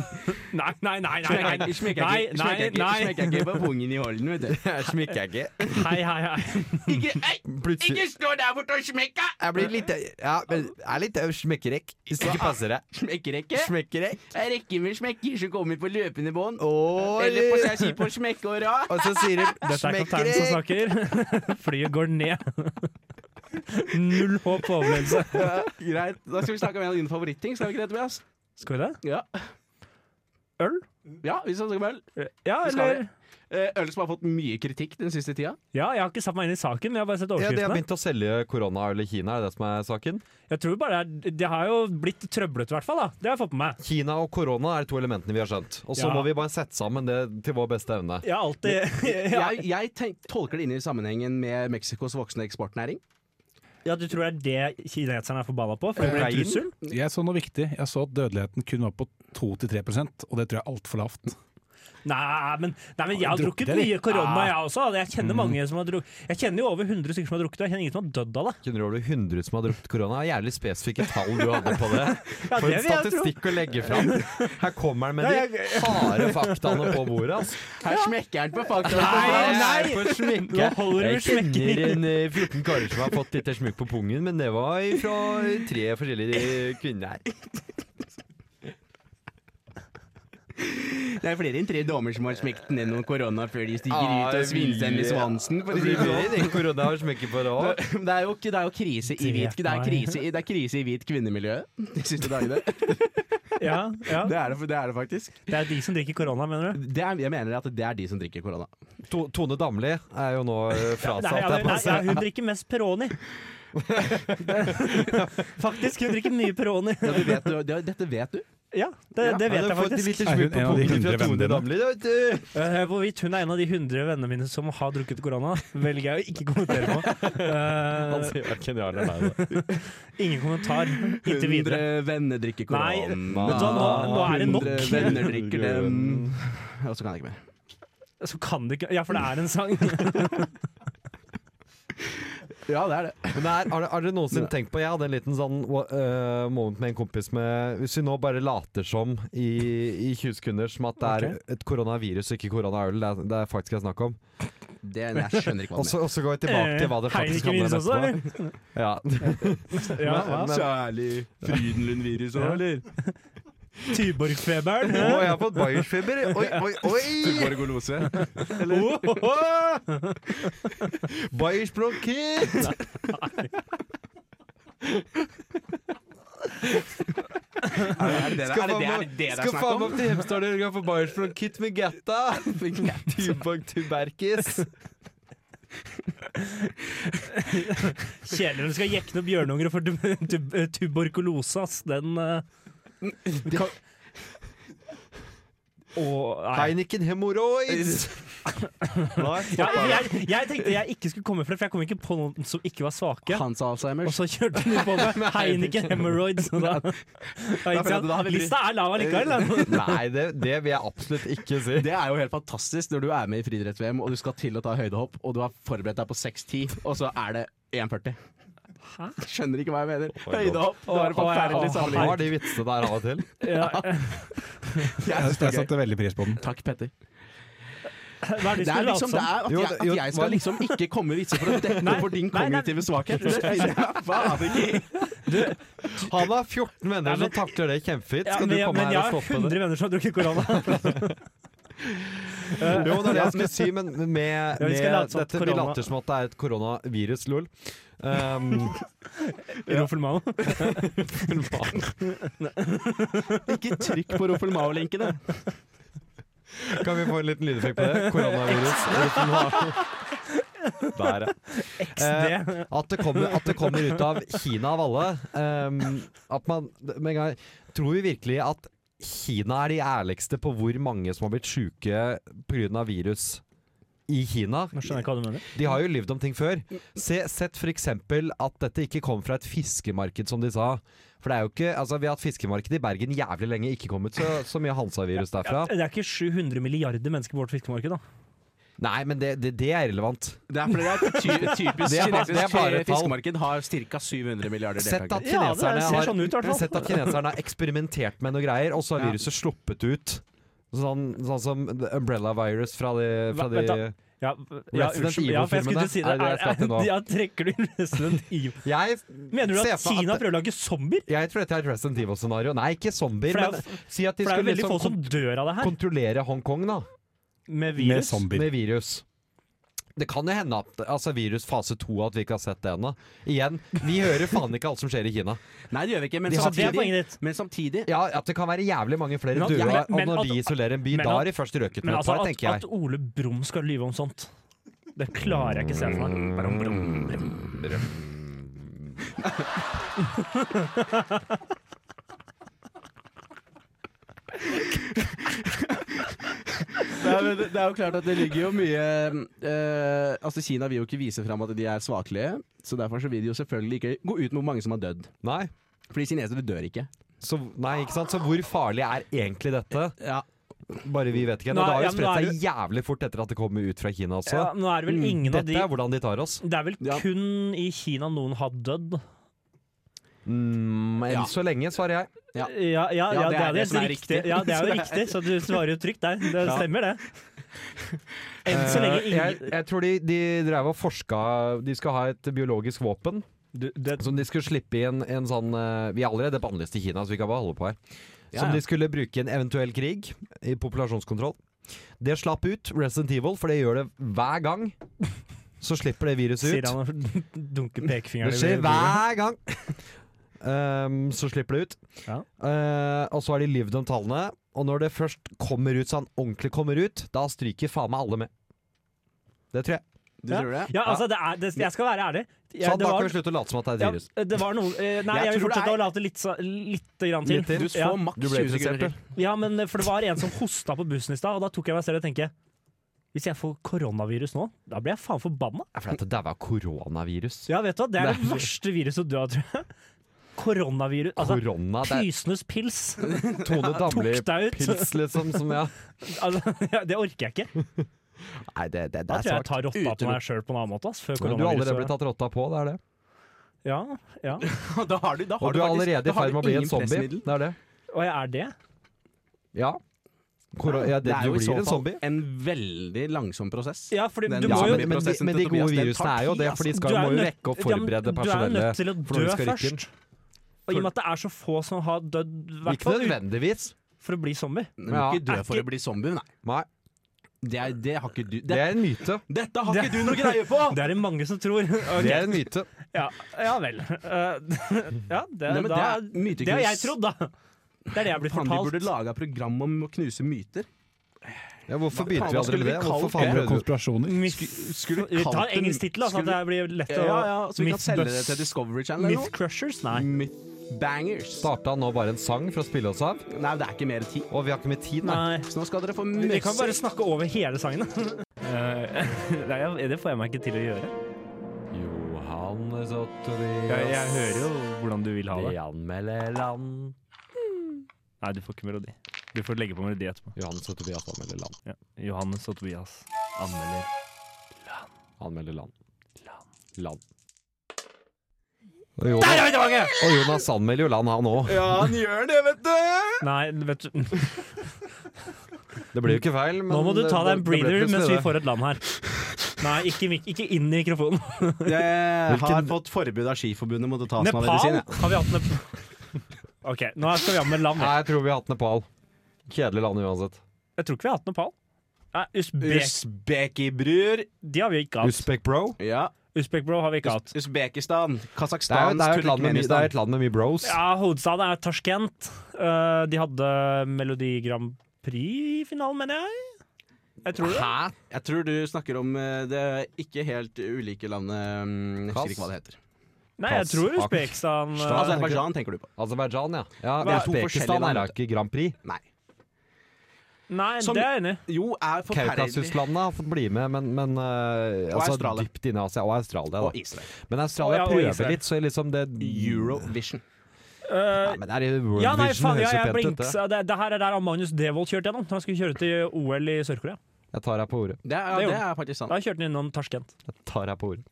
Speaker 5: Nei, nei, nei. nei, nei. Nei, nei,
Speaker 2: Smekker ikke-
Speaker 5: nei.
Speaker 2: smekker ikke på pungen i Halden, vet du.
Speaker 6: Jeg smekker ikke.
Speaker 5: Hei, hei, hei.
Speaker 2: Ikke, ei,
Speaker 6: Plutselig.
Speaker 2: ikke stå der borte og smekke!
Speaker 6: Jeg blir litt Ja, men jeg er litt smekkerekk. Hvis det ikke passer deg.
Speaker 2: Smekkerekke.
Speaker 6: Smekkerekk.
Speaker 2: En rekke med smekker som kommer på løpende bånd.
Speaker 6: Åh,
Speaker 2: Eller på seg si på smekkåra.
Speaker 6: Og så sier de
Speaker 5: Dette er kapteinen som
Speaker 6: smekkerekk.
Speaker 5: snakker. Flyet går ned. Null håp på overlevelse.
Speaker 2: Greit. Da skal vi snakke om en av dine favoritting. Skal vi ikke det, Tobias?
Speaker 5: Skal vi det?
Speaker 2: Ja,
Speaker 5: Øl?
Speaker 2: ja vi skal snakke om øl.
Speaker 5: Ja,
Speaker 2: Det skal
Speaker 5: eller?
Speaker 2: Eh, Øl som har fått mye kritikk den siste tida.
Speaker 5: Ja, jeg har ikke satt meg inn i saken, men jeg har bare sett
Speaker 6: Ja, De har
Speaker 5: overskriftene.
Speaker 6: begynt å selge koronaøl i Kina, er det det som er saken?
Speaker 5: Jeg tror bare det er- Det har jo blitt trøblete, i hvert fall. da. Det har jeg fått med meg.
Speaker 6: Kina og korona er de to elementene vi har skjønt. Og så
Speaker 5: Ja.
Speaker 6: må vi bare sette sammen det til vår beste evne.
Speaker 5: Jeg har alltid ja,
Speaker 2: Jeg, jeg tenk, tolker det inn i sammenhengen med Mexicos voksende eksportnæring.
Speaker 5: ja, du tror det er det kineserne er forbanna på? For det blir en
Speaker 6: Veien?
Speaker 5: trussel?
Speaker 8: Jeg så noe viktig. Jeg så at dødeligheten kun var på 2-3 og det tror jeg er altfor lavt.
Speaker 5: Nei, men, nei, men jeg har
Speaker 8: Har du
Speaker 5: drukket
Speaker 8: drukket,
Speaker 5: mye
Speaker 8: eller?
Speaker 5: korona, jeg også. Jeg kjenner mange som har drukket Jeg kjenner jo over 100 stykker som har drukket, og jeg kjenner ingen som har dødd av det.
Speaker 6: Kunne det vært 100 som har drukket korona? Jævlig spesifikke tall du hadde på det.
Speaker 5: Ja,
Speaker 6: For
Speaker 5: det
Speaker 6: en
Speaker 5: vil jeg tro.
Speaker 6: statistikk å legge fram. Her kommer han med de harde faktaene på bordet. Altså.
Speaker 2: Her smekker han på fakta.
Speaker 5: Nei, nei.
Speaker 6: Jeg er på sminke.
Speaker 5: Nå holder du
Speaker 6: Jeg
Speaker 5: med
Speaker 6: kjenner
Speaker 5: smekken.
Speaker 6: en eh, 14 karer som har fått litt smukk på pungen, men det var fra tre forskjellige kvinner her.
Speaker 2: Det er flere enn tre damer som har smekt ned noen korona før de stiger
Speaker 6: Ah,
Speaker 2: ut og svinser dem i svansen. For å
Speaker 6: Det
Speaker 2: si det
Speaker 6: blir
Speaker 2: sånn.
Speaker 6: mer enn korona og smekke på det også.
Speaker 2: Det er jo ikke, det er jo krise i hvit Det er krise i, det er krise i hvit kvinnemiljø de siste dagene.
Speaker 5: Ja, ja.
Speaker 2: Det er det, det er det faktisk.
Speaker 5: Det er de som drikker korona, mener du?
Speaker 2: Det er, jeg mener at det er de som drikker korona.
Speaker 6: To, Tone Damli er jo nå eh,
Speaker 5: Nei,
Speaker 6: frasatt.
Speaker 5: ja,
Speaker 6: der
Speaker 5: men-
Speaker 6: på
Speaker 5: nei, ja, hun drikker mest Peroni. Faktisk, hun drikker mye Peroni.
Speaker 2: Ja, du vet, du, det- dette vet du.
Speaker 5: Ja, det, det vet jeg faktisk.
Speaker 6: Litt
Speaker 8: Er hun
Speaker 6: smukk
Speaker 8: en
Speaker 6: på
Speaker 8: av de
Speaker 6: pungen fra
Speaker 8: hundre
Speaker 6: Tone
Speaker 8: vennene?
Speaker 6: Damli, da, vet du.
Speaker 5: Eh, Hvorvidt hun er en av de 100 vennene mine som har drukket korona, velger jeg å ikke kommentere på.
Speaker 6: Han
Speaker 5: Eh,
Speaker 6: sier hverken ja eller nei. da.
Speaker 5: ingen kommentar inntil videre.
Speaker 2: 100 venner drikker korona.
Speaker 5: Nei, vet du hva, nå- nå er det nok.
Speaker 2: 100 venner drikker dem. Og så kan jeg ikke mer.
Speaker 5: Så kan det ikke Ja, for det er en sang.
Speaker 2: Ja, det er det.
Speaker 6: Men det er, har, dere- har dere noensinne tenkt på Jeg hadde en liten sånn eh, moment med en kompis med Hvis vi nå bare later som i, i 20 sekunder som at det er et koronavirus og ikke koronaøl, det, er- det er faktisk jeg snakker om.
Speaker 2: det jeg skjønner ikke hva
Speaker 6: Og
Speaker 2: det
Speaker 6: så og så går vi tilbake til hva det
Speaker 5: Eh, Heineken
Speaker 6: faktisk handler om.
Speaker 5: Vinnes også,
Speaker 6: etterpå. Ja.
Speaker 5: Ja,
Speaker 6: Men- men-
Speaker 2: Særlig Frydenlund-virus
Speaker 5: ja. Tyborgfeberen.
Speaker 6: Å, jeg har fått bayersfeber! Oi, oi, oi!
Speaker 2: Tuberkulose.
Speaker 6: Bayers bronkitt!
Speaker 2: Er det det det er det det er det det er
Speaker 6: Skal
Speaker 2: snakk
Speaker 6: faen meg
Speaker 2: om?
Speaker 6: opp til Hemsedal og jogge for Bayers bronkitt med getta! Tubak tuberkis.
Speaker 5: Kjedelig når du skal jekke opp bjørnunger for tu tu tuberkulose, ass. Den eh, kan- Åh, nei.
Speaker 6: Heineken hemoroids! Nei,
Speaker 5: Ja,
Speaker 6: stoppa det.
Speaker 5: jeg, jeg tenkte jeg ikke skulle komme for det, for jeg kom ikke på noen som ikke var svake.
Speaker 2: Hans
Speaker 5: Og
Speaker 2: Alzheimers.
Speaker 5: så kjørte hun på med Heineken Hemorrhoids. og Da, da,
Speaker 2: at
Speaker 5: ikke sant?
Speaker 2: da har vi-
Speaker 5: Lista er lav allikevel. da.
Speaker 6: Nei, det, det vil jeg absolutt ikke si.
Speaker 2: Det er jo helt fantastisk når du er med i friidretts-VM og du skal til å ta høydehopp, og du har forberedt deg på 6,10, og så er det 1,40. Skjønner ikke hva jeg mener. Høydehopp. Det var en forferdelig
Speaker 6: Han
Speaker 2: sammenligning.
Speaker 6: har de vitsene der av og til.
Speaker 5: Ja.
Speaker 8: Jeg, jeg
Speaker 2: gøy.
Speaker 8: satte veldig pris på den.
Speaker 2: Takk, Petter.
Speaker 5: Hva er det du
Speaker 2: Det er
Speaker 5: skulle late
Speaker 2: liksom det
Speaker 5: som?
Speaker 2: er at,
Speaker 6: Jo,
Speaker 2: jeg,
Speaker 6: jo,
Speaker 2: at jeg skal
Speaker 6: hva-
Speaker 2: liksom ikke komme med vitser for å dekke opp for din
Speaker 5: nei, nei.
Speaker 2: kognitive svakhet. Det finner jeg faen ikke i.
Speaker 6: Han har 14 venner
Speaker 5: Ja, men-
Speaker 6: som takler det kjempefint.
Speaker 5: Ja,
Speaker 6: Skal
Speaker 5: men,
Speaker 6: du
Speaker 5: jeg-
Speaker 6: komme
Speaker 5: men jeg
Speaker 6: her
Speaker 5: har
Speaker 6: og stoppe
Speaker 5: 100
Speaker 6: det?
Speaker 5: venner som har drukket korona.
Speaker 6: Jo,
Speaker 5: Eh,
Speaker 6: det altså. er det jeg skulle si, men med, med
Speaker 5: Ja, vi skal late som at
Speaker 6: dette Vi
Speaker 5: korona-
Speaker 6: later som at det er et koronavirus, lol. Um,
Speaker 5: Roffelmao.
Speaker 2: Ikke trykk på Roffelmao-linkene.
Speaker 6: kan vi få en liten lydeffekt på det? Koronavirus. Der, ja. Eh,
Speaker 5: XD.
Speaker 6: At det kommer, at det kommer ut av Kina av alle. ehm, at man med en gang, Tror vi virkelig at Kina er de ærligste på hvor mange som har blitt sjuke pga. virus? i Kina.
Speaker 5: Jeg skjønner ikke hva du mener.
Speaker 6: De har jo lyvd om ting før. Se, sett f.eks. at dette ikke kom fra et fiskemarked, som de sa. For det er jo ikke, altså Vi har hatt fiskemarked i Bergen jævlig lenge, ikke kommet så, så mye Hansa-virus derfra.
Speaker 5: Det er ikke 700 milliarder mennesker på vårt fiskemarked, da.
Speaker 6: Nei, men det, det, det er irrelevant.
Speaker 2: Det er fordi det er ty typisk
Speaker 6: Det er bare- det er
Speaker 2: kinesisk
Speaker 6: bare et tall.
Speaker 2: fiskemarked har ca. 700 milliarder
Speaker 6: Sett at
Speaker 2: deltakere.
Speaker 5: Ja, det
Speaker 6: kineserne,
Speaker 5: ser
Speaker 6: har,
Speaker 5: sånn ut i hvert fall.
Speaker 6: sett at kineserne har eksperimentert med noe greier, og så har
Speaker 2: Ja.
Speaker 6: viruset sluppet ut. Sånn, sånn som the umbrella virus fra de, fra
Speaker 5: Hva- vent
Speaker 6: de
Speaker 5: da. Ja, ja,
Speaker 6: Resident
Speaker 5: unnskyld, ja, for jeg
Speaker 6: Evil-filmene
Speaker 5: skulle til å si det.
Speaker 6: er det jeg skal til nå.
Speaker 5: ja, trekker du inn Resident Evil?
Speaker 6: Jeg
Speaker 5: Mener du
Speaker 6: ser
Speaker 5: at
Speaker 6: for meg
Speaker 5: Kina prøver å lage zombier?
Speaker 6: Jeg tror dette er et Resident Evil-scenario. Nei, ikke zombier,
Speaker 5: For det er-
Speaker 6: men si at de
Speaker 5: For det er jo
Speaker 6: skulle
Speaker 5: veldig
Speaker 6: liksom
Speaker 5: få som
Speaker 6: kon
Speaker 5: dør av det her,
Speaker 6: kontrollere Hongkong da,
Speaker 5: sånn med
Speaker 8: Med
Speaker 5: virus.
Speaker 8: zombier.
Speaker 6: med virus. Det kan jo hende at altså, virus fase to at vi ikke har sett det ennå. Igjen, vi hører faen ikke alt som skjer i Kina.
Speaker 2: Nei, det gjør vi ikke, men
Speaker 6: De har-
Speaker 5: Så det er
Speaker 2: samtidig,
Speaker 5: poenget ditt.
Speaker 2: men samtidig
Speaker 6: Ja, At det kan være jævlig mange flere
Speaker 5: Men at-
Speaker 6: døde
Speaker 5: ja,
Speaker 6: og
Speaker 5: men-
Speaker 6: når
Speaker 5: men
Speaker 6: de
Speaker 5: at-
Speaker 6: isolerer en by.
Speaker 5: men
Speaker 6: Da
Speaker 5: at-
Speaker 6: har de først røket
Speaker 5: Men
Speaker 6: med et
Speaker 5: altså,
Speaker 6: par,
Speaker 5: at,
Speaker 6: tenker jeg.
Speaker 5: at Ole Brumm skal lyve om sånt, det klarer jeg ikke å se for meg. Brum, brum, brum.
Speaker 2: Nei, men det, det er jo klart at det ligger jo mye eh, Altså Kina vil jo ikke vise fram at de er svakelige, så derfor så vil de jo selvfølgelig ikke gå ut med hvor mange som har dødd.
Speaker 6: Nei.
Speaker 2: Fordi kinesere dør ikke.
Speaker 6: Så, nei, ikke sant? Så hvor farlig er egentlig dette?
Speaker 2: Ja,
Speaker 6: Bare vi vet ikke.
Speaker 5: Nå
Speaker 6: Og det har
Speaker 5: er- ja,
Speaker 6: jo
Speaker 5: men
Speaker 6: spredt
Speaker 5: nå er
Speaker 6: seg jævlig fort etter at det kommer ut fra Kina også.
Speaker 5: Ja, nå Mm, er det vel ingen av
Speaker 6: Dette
Speaker 5: de
Speaker 6: er hvordan de tar oss.
Speaker 5: Det er vel
Speaker 2: Ja.
Speaker 5: kun i Kina noen har dødd.
Speaker 6: Mm, enn
Speaker 2: Ja.
Speaker 6: så lenge, svarer jeg.
Speaker 2: Ja.
Speaker 5: Ja, ja, ja, det er det
Speaker 2: som er
Speaker 5: riktig.
Speaker 2: riktig.
Speaker 5: Ja, det er jo riktig, så du svarer jo trygt der. Det stemmer, det. Enn så lenge
Speaker 6: Eh, jeg,
Speaker 5: ingen
Speaker 6: jeg tror de, de drev og forska De skal ha et biologisk våpen
Speaker 5: du, det,
Speaker 6: som de skulle slippe i en, en sånn eh, Vi er allerede bannlyst i Kina, så vi kan bare holde på her.
Speaker 2: Ja,
Speaker 6: Som
Speaker 2: ja.
Speaker 6: de skulle bruke i en eventuell krig, i populasjonskontroll. Det slapp ut Resident Evil, for det gjør det hver gang. Så slipper det viruset
Speaker 5: Sier
Speaker 6: ut.
Speaker 5: han og dunker pekefingeren
Speaker 6: Det skjer hver gang. Ehm, så slipper det ut.
Speaker 5: Ja.
Speaker 6: Eh, og så har de lyvd om tallene. Og når det først kommer ut sånn ordentlig kommer ut, da stryker faen meg alle med. Det tror jeg.
Speaker 2: du tror det?
Speaker 5: Ja, altså, det er, det, jeg skal være ærlig. Jeg,
Speaker 6: Sånn,
Speaker 5: det
Speaker 6: da kan
Speaker 5: var-
Speaker 6: vi slutte å late som at det er
Speaker 5: ja,
Speaker 6: et virus.
Speaker 5: det var noe eh, Nei,
Speaker 2: Jeg
Speaker 5: jeg, vil
Speaker 2: tror det
Speaker 5: fortsette
Speaker 2: er-
Speaker 5: å late litt, så- lite grann til.
Speaker 6: Litt til.
Speaker 2: Du får
Speaker 5: Ja.
Speaker 2: maks
Speaker 6: Du ble
Speaker 2: 20 sekunder
Speaker 6: interessert,
Speaker 2: til.
Speaker 5: Ja, men eh, for det var en som hosta på bussen i stad, og da tok jeg meg selv og tenkte Hvis jeg får koronavirus nå, da blir jeg faen forbanna.
Speaker 6: Det er fordi at det daua koronavirus.
Speaker 5: Ja, vet du hva, det er det verste viruset du har, tror jeg. Koronavirus. Altså,
Speaker 6: Korona, det er
Speaker 5: Pysenes pils!
Speaker 6: Tone
Speaker 5: Tok deg ut.
Speaker 6: Damli-pils, liksom. Som, ja.
Speaker 5: Altså, ja, det orker jeg ikke.
Speaker 6: Nei, det, det, det
Speaker 5: Da
Speaker 6: er
Speaker 5: tror jeg jeg
Speaker 6: svakt.
Speaker 5: tar rotta på meg sjøl på en annen måte. Ass, før
Speaker 6: Men Du har allerede blitt
Speaker 5: koronaviruset
Speaker 6: tatt rotta på, det er det.
Speaker 5: Ja, ja.
Speaker 2: Da har du, da har
Speaker 6: Og du er
Speaker 2: faktisk-
Speaker 6: allerede
Speaker 2: da
Speaker 6: i
Speaker 2: har
Speaker 6: ferd
Speaker 2: du
Speaker 6: med å bli
Speaker 2: ingen
Speaker 6: en zombie.
Speaker 2: pressmiddel.
Speaker 6: Det er det.
Speaker 5: Og jeg er det.
Speaker 6: Ja. Koro ja det, du
Speaker 2: er jo i
Speaker 6: blir
Speaker 2: så
Speaker 6: en
Speaker 2: fall
Speaker 6: zombie.
Speaker 2: en veldig langsom prosess.
Speaker 5: Ja, fordi
Speaker 2: Den
Speaker 5: du
Speaker 6: Ja,
Speaker 5: må jo
Speaker 6: men, men, de,
Speaker 2: prosessen
Speaker 6: men
Speaker 2: til
Speaker 6: de gode
Speaker 2: Tobias, den
Speaker 6: virusene
Speaker 2: tar
Speaker 6: er jo
Speaker 2: tid,
Speaker 6: det,
Speaker 2: ass.
Speaker 6: for de skal,
Speaker 5: Du er
Speaker 6: må jo
Speaker 5: nødt-
Speaker 6: rekke å
Speaker 5: Ja, men
Speaker 6: forberede
Speaker 5: Du er nødt
Speaker 6: personellet.
Speaker 5: til å
Speaker 6: for når
Speaker 5: dø
Speaker 6: vi skal rykke inn.
Speaker 5: først. Og i og med at det er så få som har dødd, i hvert
Speaker 6: Ikke
Speaker 5: fall ut-
Speaker 6: nødvendigvis.
Speaker 5: for å bli zombie.
Speaker 2: Du må
Speaker 6: Ja.
Speaker 2: ikke dø
Speaker 5: Er
Speaker 2: for å
Speaker 5: ikke-
Speaker 2: bli zombie, nei.
Speaker 6: Nei,
Speaker 2: Det, er, det har ikke du
Speaker 6: det
Speaker 2: det,
Speaker 6: er en myte.
Speaker 2: Dette har
Speaker 5: Det-
Speaker 2: ikke du noe greie på!
Speaker 5: Det er det mange som tror. Ok.
Speaker 6: Det er en myte.
Speaker 5: Ja, ja vel. Eh, ja, det,
Speaker 2: Nei, men
Speaker 5: da,
Speaker 2: det er myteknus.
Speaker 5: det har jeg trodd, da. Det er det jeg blir
Speaker 2: Faen, de burde
Speaker 5: fortalt.
Speaker 2: laga program om å knuse myter.
Speaker 6: Ja, hvorfor
Speaker 2: Hva
Speaker 6: begynte
Speaker 2: faen,
Speaker 6: vi
Speaker 2: hva
Speaker 6: aldri
Speaker 2: skulle
Speaker 6: med
Speaker 2: vi
Speaker 6: det?
Speaker 2: kalt
Speaker 6: Hvorfor faen
Speaker 2: det?
Speaker 8: Andre
Speaker 6: prøvde vi?
Speaker 8: konspirasjoner.
Speaker 5: Mis- Vi
Speaker 2: kalt
Speaker 5: tar
Speaker 2: den-
Speaker 5: engelsk tittel, så det blir lett å
Speaker 2: Ja, ja, så vi kan selge det
Speaker 8: Mythbusters.
Speaker 2: til Discovery Channel.
Speaker 5: Myth Crushers? Nei.
Speaker 2: Mythbangers.
Speaker 6: Starta nå bare en sang for å spille oss av,
Speaker 2: Nei, det er ikke mer tid.
Speaker 6: og vi har ikke mye
Speaker 2: Mm.
Speaker 6: tid, nei.
Speaker 5: Nei.
Speaker 2: Så nå skal dere få
Speaker 5: Vi kan bare
Speaker 2: møsse.
Speaker 5: snakke over hele sangen. Eh, Nei, jeg- det får jeg meg ikke til å gjøre.
Speaker 6: Johannes og Tobias
Speaker 5: hvordan du vil
Speaker 6: Vi anmelder land.
Speaker 5: Nei, du får ikke melodi. Du får legge på melodi etterpå.
Speaker 6: Johannes og Tobias anmelder land.
Speaker 5: Johannes og Tobias anmelder.
Speaker 6: Anmelder land. Land.
Speaker 5: Der
Speaker 6: Land.
Speaker 5: er vi tilbake!
Speaker 6: Og Jonas anmelder jo land, han òg.
Speaker 2: Ja, han gjør det, vet du!
Speaker 5: Nei, vet du
Speaker 6: Det blir jo ikke feil, men
Speaker 5: Nå må du ta
Speaker 6: det-
Speaker 5: deg en
Speaker 6: det ble
Speaker 5: breather
Speaker 6: plutselig
Speaker 5: mens vi
Speaker 6: det.
Speaker 5: får et land her. Nei, ikke, mik- ikke inn i mikrofonen.
Speaker 2: Jeg har
Speaker 6: Hvilken-
Speaker 2: fått forbud av Skiforbundet mot å ta som av
Speaker 5: Nepal?
Speaker 2: medisin. jeg.
Speaker 5: Har vi hatt Nepal? Ok, nå skal vi ha med land.
Speaker 6: Nei, jeg tror vi har hatt Nepal. Kjedelig land uansett.
Speaker 5: Jeg tror ikke vi har hatt Nepal. Nei, Usbek,
Speaker 2: Usbekibrur.
Speaker 5: de har vi ikke hatt.
Speaker 6: Uspek bro?
Speaker 2: Ja.
Speaker 5: Usbek-bro har vi ikke hatt.
Speaker 2: Usbekistan.
Speaker 6: Det er, jo-
Speaker 2: Kasakhstan.
Speaker 6: det, er jo et land med, mye- det er et land med mye bros.
Speaker 5: Ja, hovedstaden er Tashkent. Eh, de hadde Melodi Grand Prix-finalen, mener jeg. Jeg tror det.
Speaker 2: Hæ? Jeg tror du snakker om eh, det ikke helt ulike landet mm, Jeg husker ikke hva det heter. Altså,
Speaker 5: Nei, jeg tror Usbekistan eh,
Speaker 2: Aserbajdsjan tenker du på.
Speaker 6: Aserbajdsjan, ja. ja
Speaker 2: Det er to
Speaker 6: Usbekistan
Speaker 2: forskjellige
Speaker 6: er
Speaker 2: land,
Speaker 6: da ikke Grand Prix.
Speaker 2: Nei.
Speaker 5: Nei,
Speaker 2: Som-
Speaker 5: det er jeg enig i.
Speaker 2: Jo, er forferdelig.
Speaker 6: Kaukasuslandene har fått bli med, men, men eh,
Speaker 2: Og
Speaker 6: altså,
Speaker 2: Australia.
Speaker 6: dypt inne i Asia. Og Australia,
Speaker 2: Og
Speaker 6: da.
Speaker 2: Israel.
Speaker 6: Men Australia
Speaker 5: Og- ja, og
Speaker 6: prøver
Speaker 5: Israel.
Speaker 6: litt, så liksom det
Speaker 2: Eurovision.
Speaker 5: Eh,
Speaker 6: Nei, men det er jo World
Speaker 5: ja, nei,
Speaker 6: Vision
Speaker 5: faen, ja,
Speaker 6: høres jo
Speaker 5: jeg
Speaker 6: pent ut,
Speaker 5: blinks.
Speaker 6: det.
Speaker 5: Det, det her er der Magnus Devold kjørte gjennom da han skulle kjøre til OL i Sør-Korea.
Speaker 6: Jeg tar deg på ordet.
Speaker 5: Det
Speaker 2: Det er, ja,
Speaker 5: gjorde
Speaker 2: det er faktisk sant.
Speaker 5: Da kjørte han innom Tashkent.
Speaker 6: Jeg tar deg på ordet.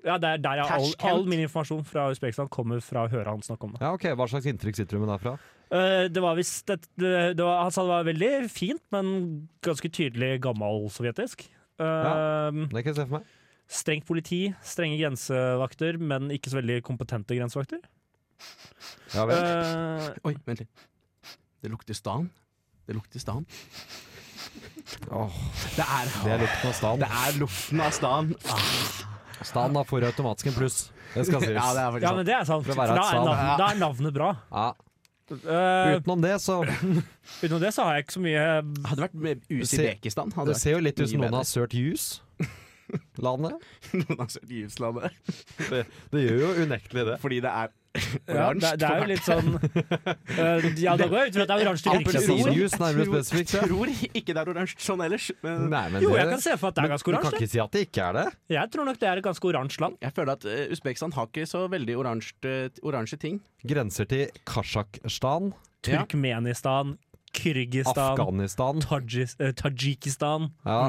Speaker 5: Ja, det er der jeg, all,
Speaker 2: Tashkent?
Speaker 5: all min informasjon fra Usbekistan kommer fra å høre han snakke om det.
Speaker 6: Ja, ok, Hva slags inntrykk sitter du med derfra?
Speaker 5: Eh, det var visst et, det, det var, Han sa det var veldig fint, men ganske tydelig gammal-sovjetisk. Eh,
Speaker 6: Det kan jeg se for meg.
Speaker 5: Strengt politi, strenge grensevakter, men ikke så veldig kompetente grensevakter.
Speaker 6: Ja, vel.
Speaker 5: Eh,
Speaker 2: Oi, vent litt. Det lukter stan. Det lukter stan. Det er,
Speaker 6: Det er lukten av stan.
Speaker 2: Eh. det er lukten av stan. Ah,
Speaker 6: Stan da får automatisk en pluss. Det skal sies.
Speaker 2: ja, det er faktisk
Speaker 5: ja,
Speaker 2: sant.
Speaker 5: men det er sant.
Speaker 6: For å
Speaker 5: For
Speaker 6: være
Speaker 5: da,
Speaker 6: et
Speaker 5: er
Speaker 6: sal.
Speaker 5: navnet, da er navnet bra.
Speaker 6: Ja.
Speaker 5: Eh,
Speaker 6: Utenom det, så
Speaker 5: utenom det så har jeg ikke så mye
Speaker 2: Hadde vært med Usibekistan. Hadde
Speaker 6: Det ser jo litt ut som
Speaker 2: mye
Speaker 6: noen har
Speaker 2: bedre.
Speaker 6: sølt jus. Landet.
Speaker 2: noen har søkt i utlandet.
Speaker 6: Det, det gjør jo unektelig det.
Speaker 2: Fordi det er
Speaker 5: ja, det, det er jo litt sånn eh, Ja, da går jeg ut fra at det er oransje til virkelighetsjus.
Speaker 6: Appelsinjuice, nærmere spesifikt.
Speaker 2: Jeg
Speaker 6: ja.
Speaker 2: tror ikke det er oransje sånn ellers, men
Speaker 6: Nei, men
Speaker 5: Jo,
Speaker 6: det-
Speaker 5: jeg kan se for meg at det er ganske
Speaker 6: Men Du kan
Speaker 5: oransje.
Speaker 6: ikke si at det ikke er det.
Speaker 5: Jeg tror nok det er et ganske oransje land.
Speaker 2: jeg føler at eh, Usbekistan har ikke så veldig oransje oransje ting.
Speaker 6: Grenser til Kasjokstan,
Speaker 2: Ja.
Speaker 5: Turkmenistan, Kyrgyzstan,
Speaker 6: Afghanistan
Speaker 5: Tajis, eh, Tadsjikistan
Speaker 6: ja.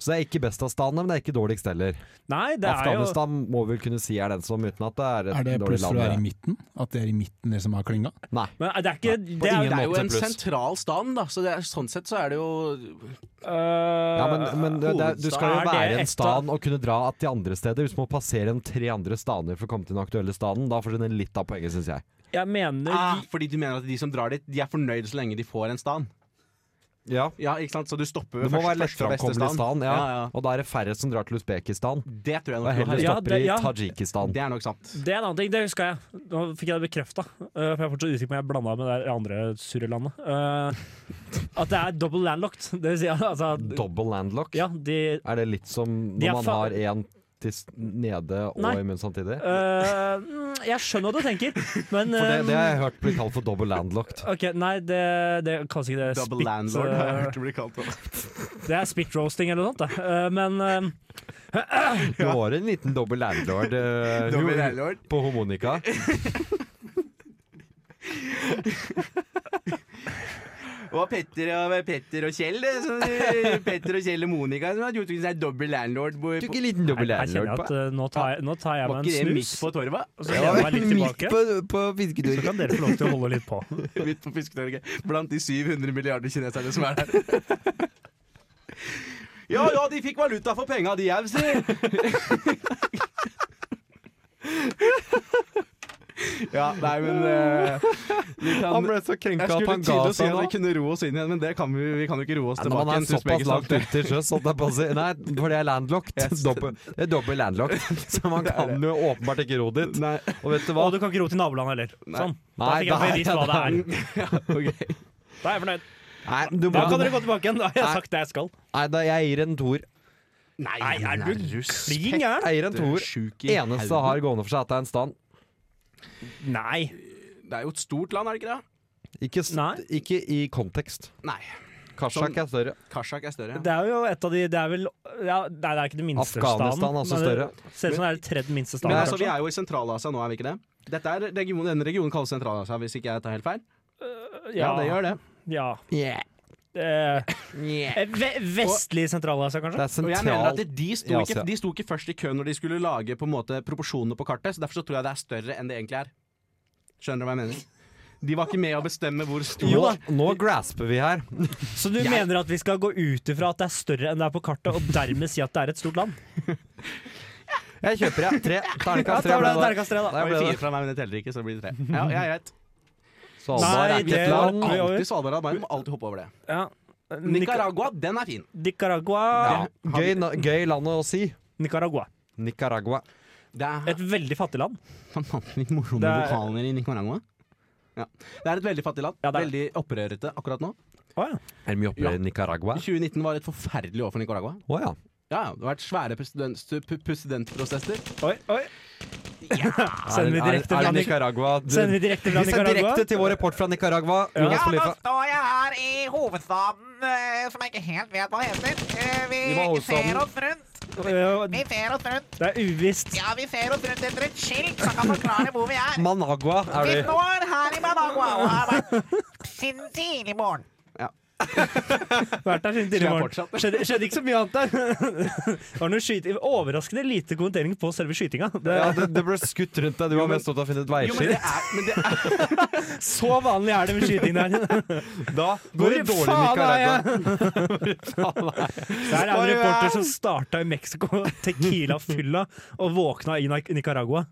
Speaker 6: Så det er ikke best av standene, men det er ikke dårligst heller.
Speaker 5: Nei, det er jo
Speaker 6: Afghanistan må vi vel kunne si er den som, uten at det er et
Speaker 8: Er det
Speaker 6: dårlig
Speaker 8: pluss for
Speaker 6: land.
Speaker 8: å være i
Speaker 6: det.
Speaker 8: midten? At det er i midten dere som har klynga?
Speaker 6: Nei.
Speaker 5: Men eh, det er ikke det er,
Speaker 2: Det
Speaker 6: ingen
Speaker 2: er jo
Speaker 6: måte
Speaker 2: en
Speaker 6: pluss.
Speaker 2: sentral stan, da, så det er, sånn sett så er det jo
Speaker 5: øh,
Speaker 6: Ja, men, men det, det, er- du skal jo
Speaker 5: Er det
Speaker 6: være en
Speaker 5: et
Speaker 6: stan og kunne dra til andre steder. Hvis du må passere en tre andre staner for å komme til den aktuelle staden, da forsvinner litt av poenget, syns jeg.
Speaker 5: Jeg mener
Speaker 2: ah, Fordi du mener at de som drar dit, de er fornøyd så lenge de får en stan?
Speaker 6: Ja.
Speaker 2: Ja, ikke sant? Så du stopper
Speaker 6: Det
Speaker 2: ved
Speaker 6: må
Speaker 2: først-
Speaker 6: være
Speaker 2: først fra beste
Speaker 6: lettframkommelig stan, ja.
Speaker 2: Ja, ja.
Speaker 6: og da er det færre som drar til Usbekistan.
Speaker 2: Det tror jeg
Speaker 6: Og
Speaker 2: nok du
Speaker 6: heller
Speaker 2: har
Speaker 5: Ja,
Speaker 6: stopper
Speaker 5: det-
Speaker 6: i
Speaker 5: ja.
Speaker 6: Tadsjikistan.
Speaker 2: Det er nok sant.
Speaker 5: Det er en annen ting, det husker jeg. Nå fikk jeg det bekrefta. for jeg er fortsatt usikker på om jeg blanda med det andre surrelandet. Eh, at det er double landlocked. Det vil si altså at-
Speaker 6: Double landlock.
Speaker 5: Ja, de
Speaker 6: Er det litt som
Speaker 5: De er
Speaker 6: når man
Speaker 5: fa-
Speaker 6: har en til s- nede og
Speaker 5: Nei.
Speaker 6: i munnen samtidig?
Speaker 5: eh, mm, Jeg skjønner hva du tenker, men
Speaker 6: For det,
Speaker 5: eh,
Speaker 6: det har jeg hørt blir kalt for double landlocked.
Speaker 5: OK, nei, det, det kalles ikke det
Speaker 2: Double
Speaker 5: spit,
Speaker 2: landlord
Speaker 5: eh,
Speaker 2: har jeg hørt det bli kalt. også.
Speaker 5: det er spit roasting eller noe sånt, da. Eh, men eh,
Speaker 6: Det var en liten double landlord eh,
Speaker 2: Double
Speaker 6: jo,
Speaker 2: landlord.
Speaker 6: på harmonika.
Speaker 2: Og Petter og, Petter og Kjell, det, som, eh, Petter og Kjell og Monica som hadde utviklet seg double landlord. På,
Speaker 6: Tok
Speaker 2: på,
Speaker 6: en liten double
Speaker 5: jeg, jeg kjenner
Speaker 6: landlord
Speaker 5: at
Speaker 6: på.
Speaker 5: eh, nå tar jeg, nå tar jeg
Speaker 2: var
Speaker 5: meg
Speaker 2: ikke det
Speaker 5: en
Speaker 2: midt
Speaker 5: snus,
Speaker 2: på torvet?
Speaker 5: og så lener jeg meg litt tilbake.
Speaker 6: på, på
Speaker 5: Så kan dere få lov til å holde litt på.
Speaker 2: Midt på Fisketorget. Blant de 700 milliarder kineserne som er der. Ja ja, de fikk valuta for penga, de au, si! Ja, nei, men eh, vi kan,
Speaker 6: Han ble så
Speaker 2: Jeg
Speaker 6: krenka at
Speaker 2: skulle
Speaker 6: han ga
Speaker 2: til å si
Speaker 6: seg
Speaker 2: at
Speaker 6: nå.
Speaker 2: vi kunne roe oss inn igjen, men det kan vi, vi kan jo ikke roe oss
Speaker 6: Nei, når man
Speaker 2: tilbake
Speaker 6: er
Speaker 2: igjen. til
Speaker 6: såpass langt
Speaker 2: Usbekistan.
Speaker 6: ute til sjøs, holdt jeg på å si. Nei, for det er landlocked.
Speaker 2: Yes.
Speaker 6: Dobbel, det er dobbel landlocked. Så man kan jo åpenbart ikke ro dit.
Speaker 2: Nei.
Speaker 6: Og vet du hva?
Speaker 5: Og du kan ikke ro til nabolandet heller. Sånn. Da
Speaker 6: Nei,
Speaker 5: fikk jeg
Speaker 6: nei,
Speaker 5: bevist hva det er.
Speaker 2: Ja, ok.
Speaker 5: Da er jeg fornøyd.
Speaker 6: Nei, du må,
Speaker 5: Da kan dere gå tilbake igjen. Da har jeg sagt det jeg skal.
Speaker 6: nei da, jeg gir en toer.
Speaker 5: Nei, er du klin gæren?
Speaker 6: Jeg gir en toer.
Speaker 2: Sjuk i
Speaker 6: Eneste
Speaker 2: hodet.
Speaker 6: har gående for seg at det er en stand.
Speaker 5: Nei.
Speaker 2: Det er jo et stort land, er det ikke det?
Speaker 6: Ikke, s-
Speaker 5: Nei. Sånn.
Speaker 6: ikke i kontekst.
Speaker 2: Nei.
Speaker 6: Kasjak er større.
Speaker 2: Kasjak er større.
Speaker 5: Det er jo et av de Det er vel ja, Nei, det er ikke det minste
Speaker 6: Afghanistan er også
Speaker 5: staden, men
Speaker 6: større.
Speaker 5: det Ser ut som det er det tredje minste
Speaker 2: altså Men
Speaker 5: staden.
Speaker 2: altså, vi
Speaker 5: kanskje.
Speaker 2: er jo i Sentral-Asia nå, er vi ikke det? Dette er regionen, denne regionen kalles Sentral-Asia, hvis ikke jeg tar helt feil? Ja, det gjør det.
Speaker 5: Ja. Eh, eh, ve- vestlig Sentral-Asia,
Speaker 6: Det
Speaker 5: kanskje?
Speaker 6: er
Speaker 2: Og jeg mener
Speaker 6: sentral
Speaker 2: at de sto,
Speaker 6: i Asia.
Speaker 2: ikke, de sto ikke først i kø når de skulle lage på en måte proporsjonene på kartet, så derfor så tror jeg det er større enn det egentlig er. Skjønner du hva jeg mener? De var ikke med å bestemme hvor stor
Speaker 5: Jo
Speaker 6: nå,
Speaker 5: da.
Speaker 6: nå grasper vi her.
Speaker 5: Så du mener at vi skal gå ut ifra at det er større enn det er på kartet, og dermed si at det er et stort land?
Speaker 6: Jeg kjøper, jeg. Tre.
Speaker 5: Ja,
Speaker 6: Terningkast tre.
Speaker 5: da
Speaker 6: ble
Speaker 5: ble det
Speaker 6: det.
Speaker 5: terningkast tre, da.
Speaker 6: Der
Speaker 2: Det
Speaker 6: ble
Speaker 2: var
Speaker 6: det.
Speaker 2: fire fra meg, men det teller ikke, så det blir tre. Ja, ja, greit.
Speaker 6: Svalbard
Speaker 5: Nei,
Speaker 6: er ikke
Speaker 5: det
Speaker 6: et
Speaker 5: var-
Speaker 6: land.
Speaker 5: Oi, oi.
Speaker 2: Alltid Svalbard arbeid, må alltid hoppe over det.
Speaker 5: Ja. Nica-
Speaker 2: Nicaragua, den er fin.
Speaker 5: Nicaragua.
Speaker 6: Ja. Gøy, na- gøy land å si.
Speaker 5: Nicaragua.
Speaker 6: Nicaragua.
Speaker 2: Det er
Speaker 5: Et veldig fattig land.
Speaker 2: Litt morsomme
Speaker 5: Det er-
Speaker 2: vokaler i Nicaragua. Ja. Det er et veldig fattig land.
Speaker 5: Ja, det er
Speaker 2: Veldig opprørete akkurat nå.
Speaker 5: Å, ja.
Speaker 6: Er det mye oppe
Speaker 2: Ja.
Speaker 6: i Nicaragua?
Speaker 2: 2019 var et forferdelig år for Nicaragua.
Speaker 6: Å ja.
Speaker 2: Ja, ja, Det har vært svære president, stu- pu- presidentprosesser.
Speaker 5: Oi, oi.
Speaker 6: Er,
Speaker 5: Sender vi
Speaker 6: er,
Speaker 5: direkte fra
Speaker 6: er
Speaker 5: Nicaragua?
Speaker 6: Nicaragua
Speaker 5: Sender vi direkte
Speaker 6: Vi
Speaker 5: fra
Speaker 6: sender
Speaker 5: Nicaragua?
Speaker 6: direkte til vår report fra Nicaragua. Jonas Khalifa.
Speaker 2: står jeg her i
Speaker 10: i hovedstaden eh, som jeg ikke helt vet hva heter. Eh,
Speaker 6: Det var
Speaker 10: vi
Speaker 6: hovedstaden.
Speaker 10: ser oss rundt.
Speaker 5: Ja,
Speaker 10: Vi ser oss rundt.
Speaker 5: Det er uvisst.
Speaker 10: Ja, vi ser oss rundt etter et skilt som kan forklare hvor vi er.
Speaker 6: Managua er
Speaker 10: Vi
Speaker 6: det.
Speaker 10: står her i Managua og har vært siden tidlig morgen.
Speaker 5: Vært der siden tidlig
Speaker 2: Skulle jeg
Speaker 5: morgen. Skjedde, skjedde ikke så mye annet der. Det var noe skyting, overraskende lite kommentering på selve skytinga. Det,
Speaker 6: Ja, det, det ble skutt rundt deg. Du var mest opptatt av å finne et veiskilt.
Speaker 5: så vanlig er det med skyting der.
Speaker 6: Da
Speaker 5: Hvor
Speaker 6: går det dårlig,
Speaker 5: faen er jeg?
Speaker 6: Nicaragua.
Speaker 5: Der er en reporter som starta i Mexico, Tequila-fylla, og våkna i Nic- Nicaragua.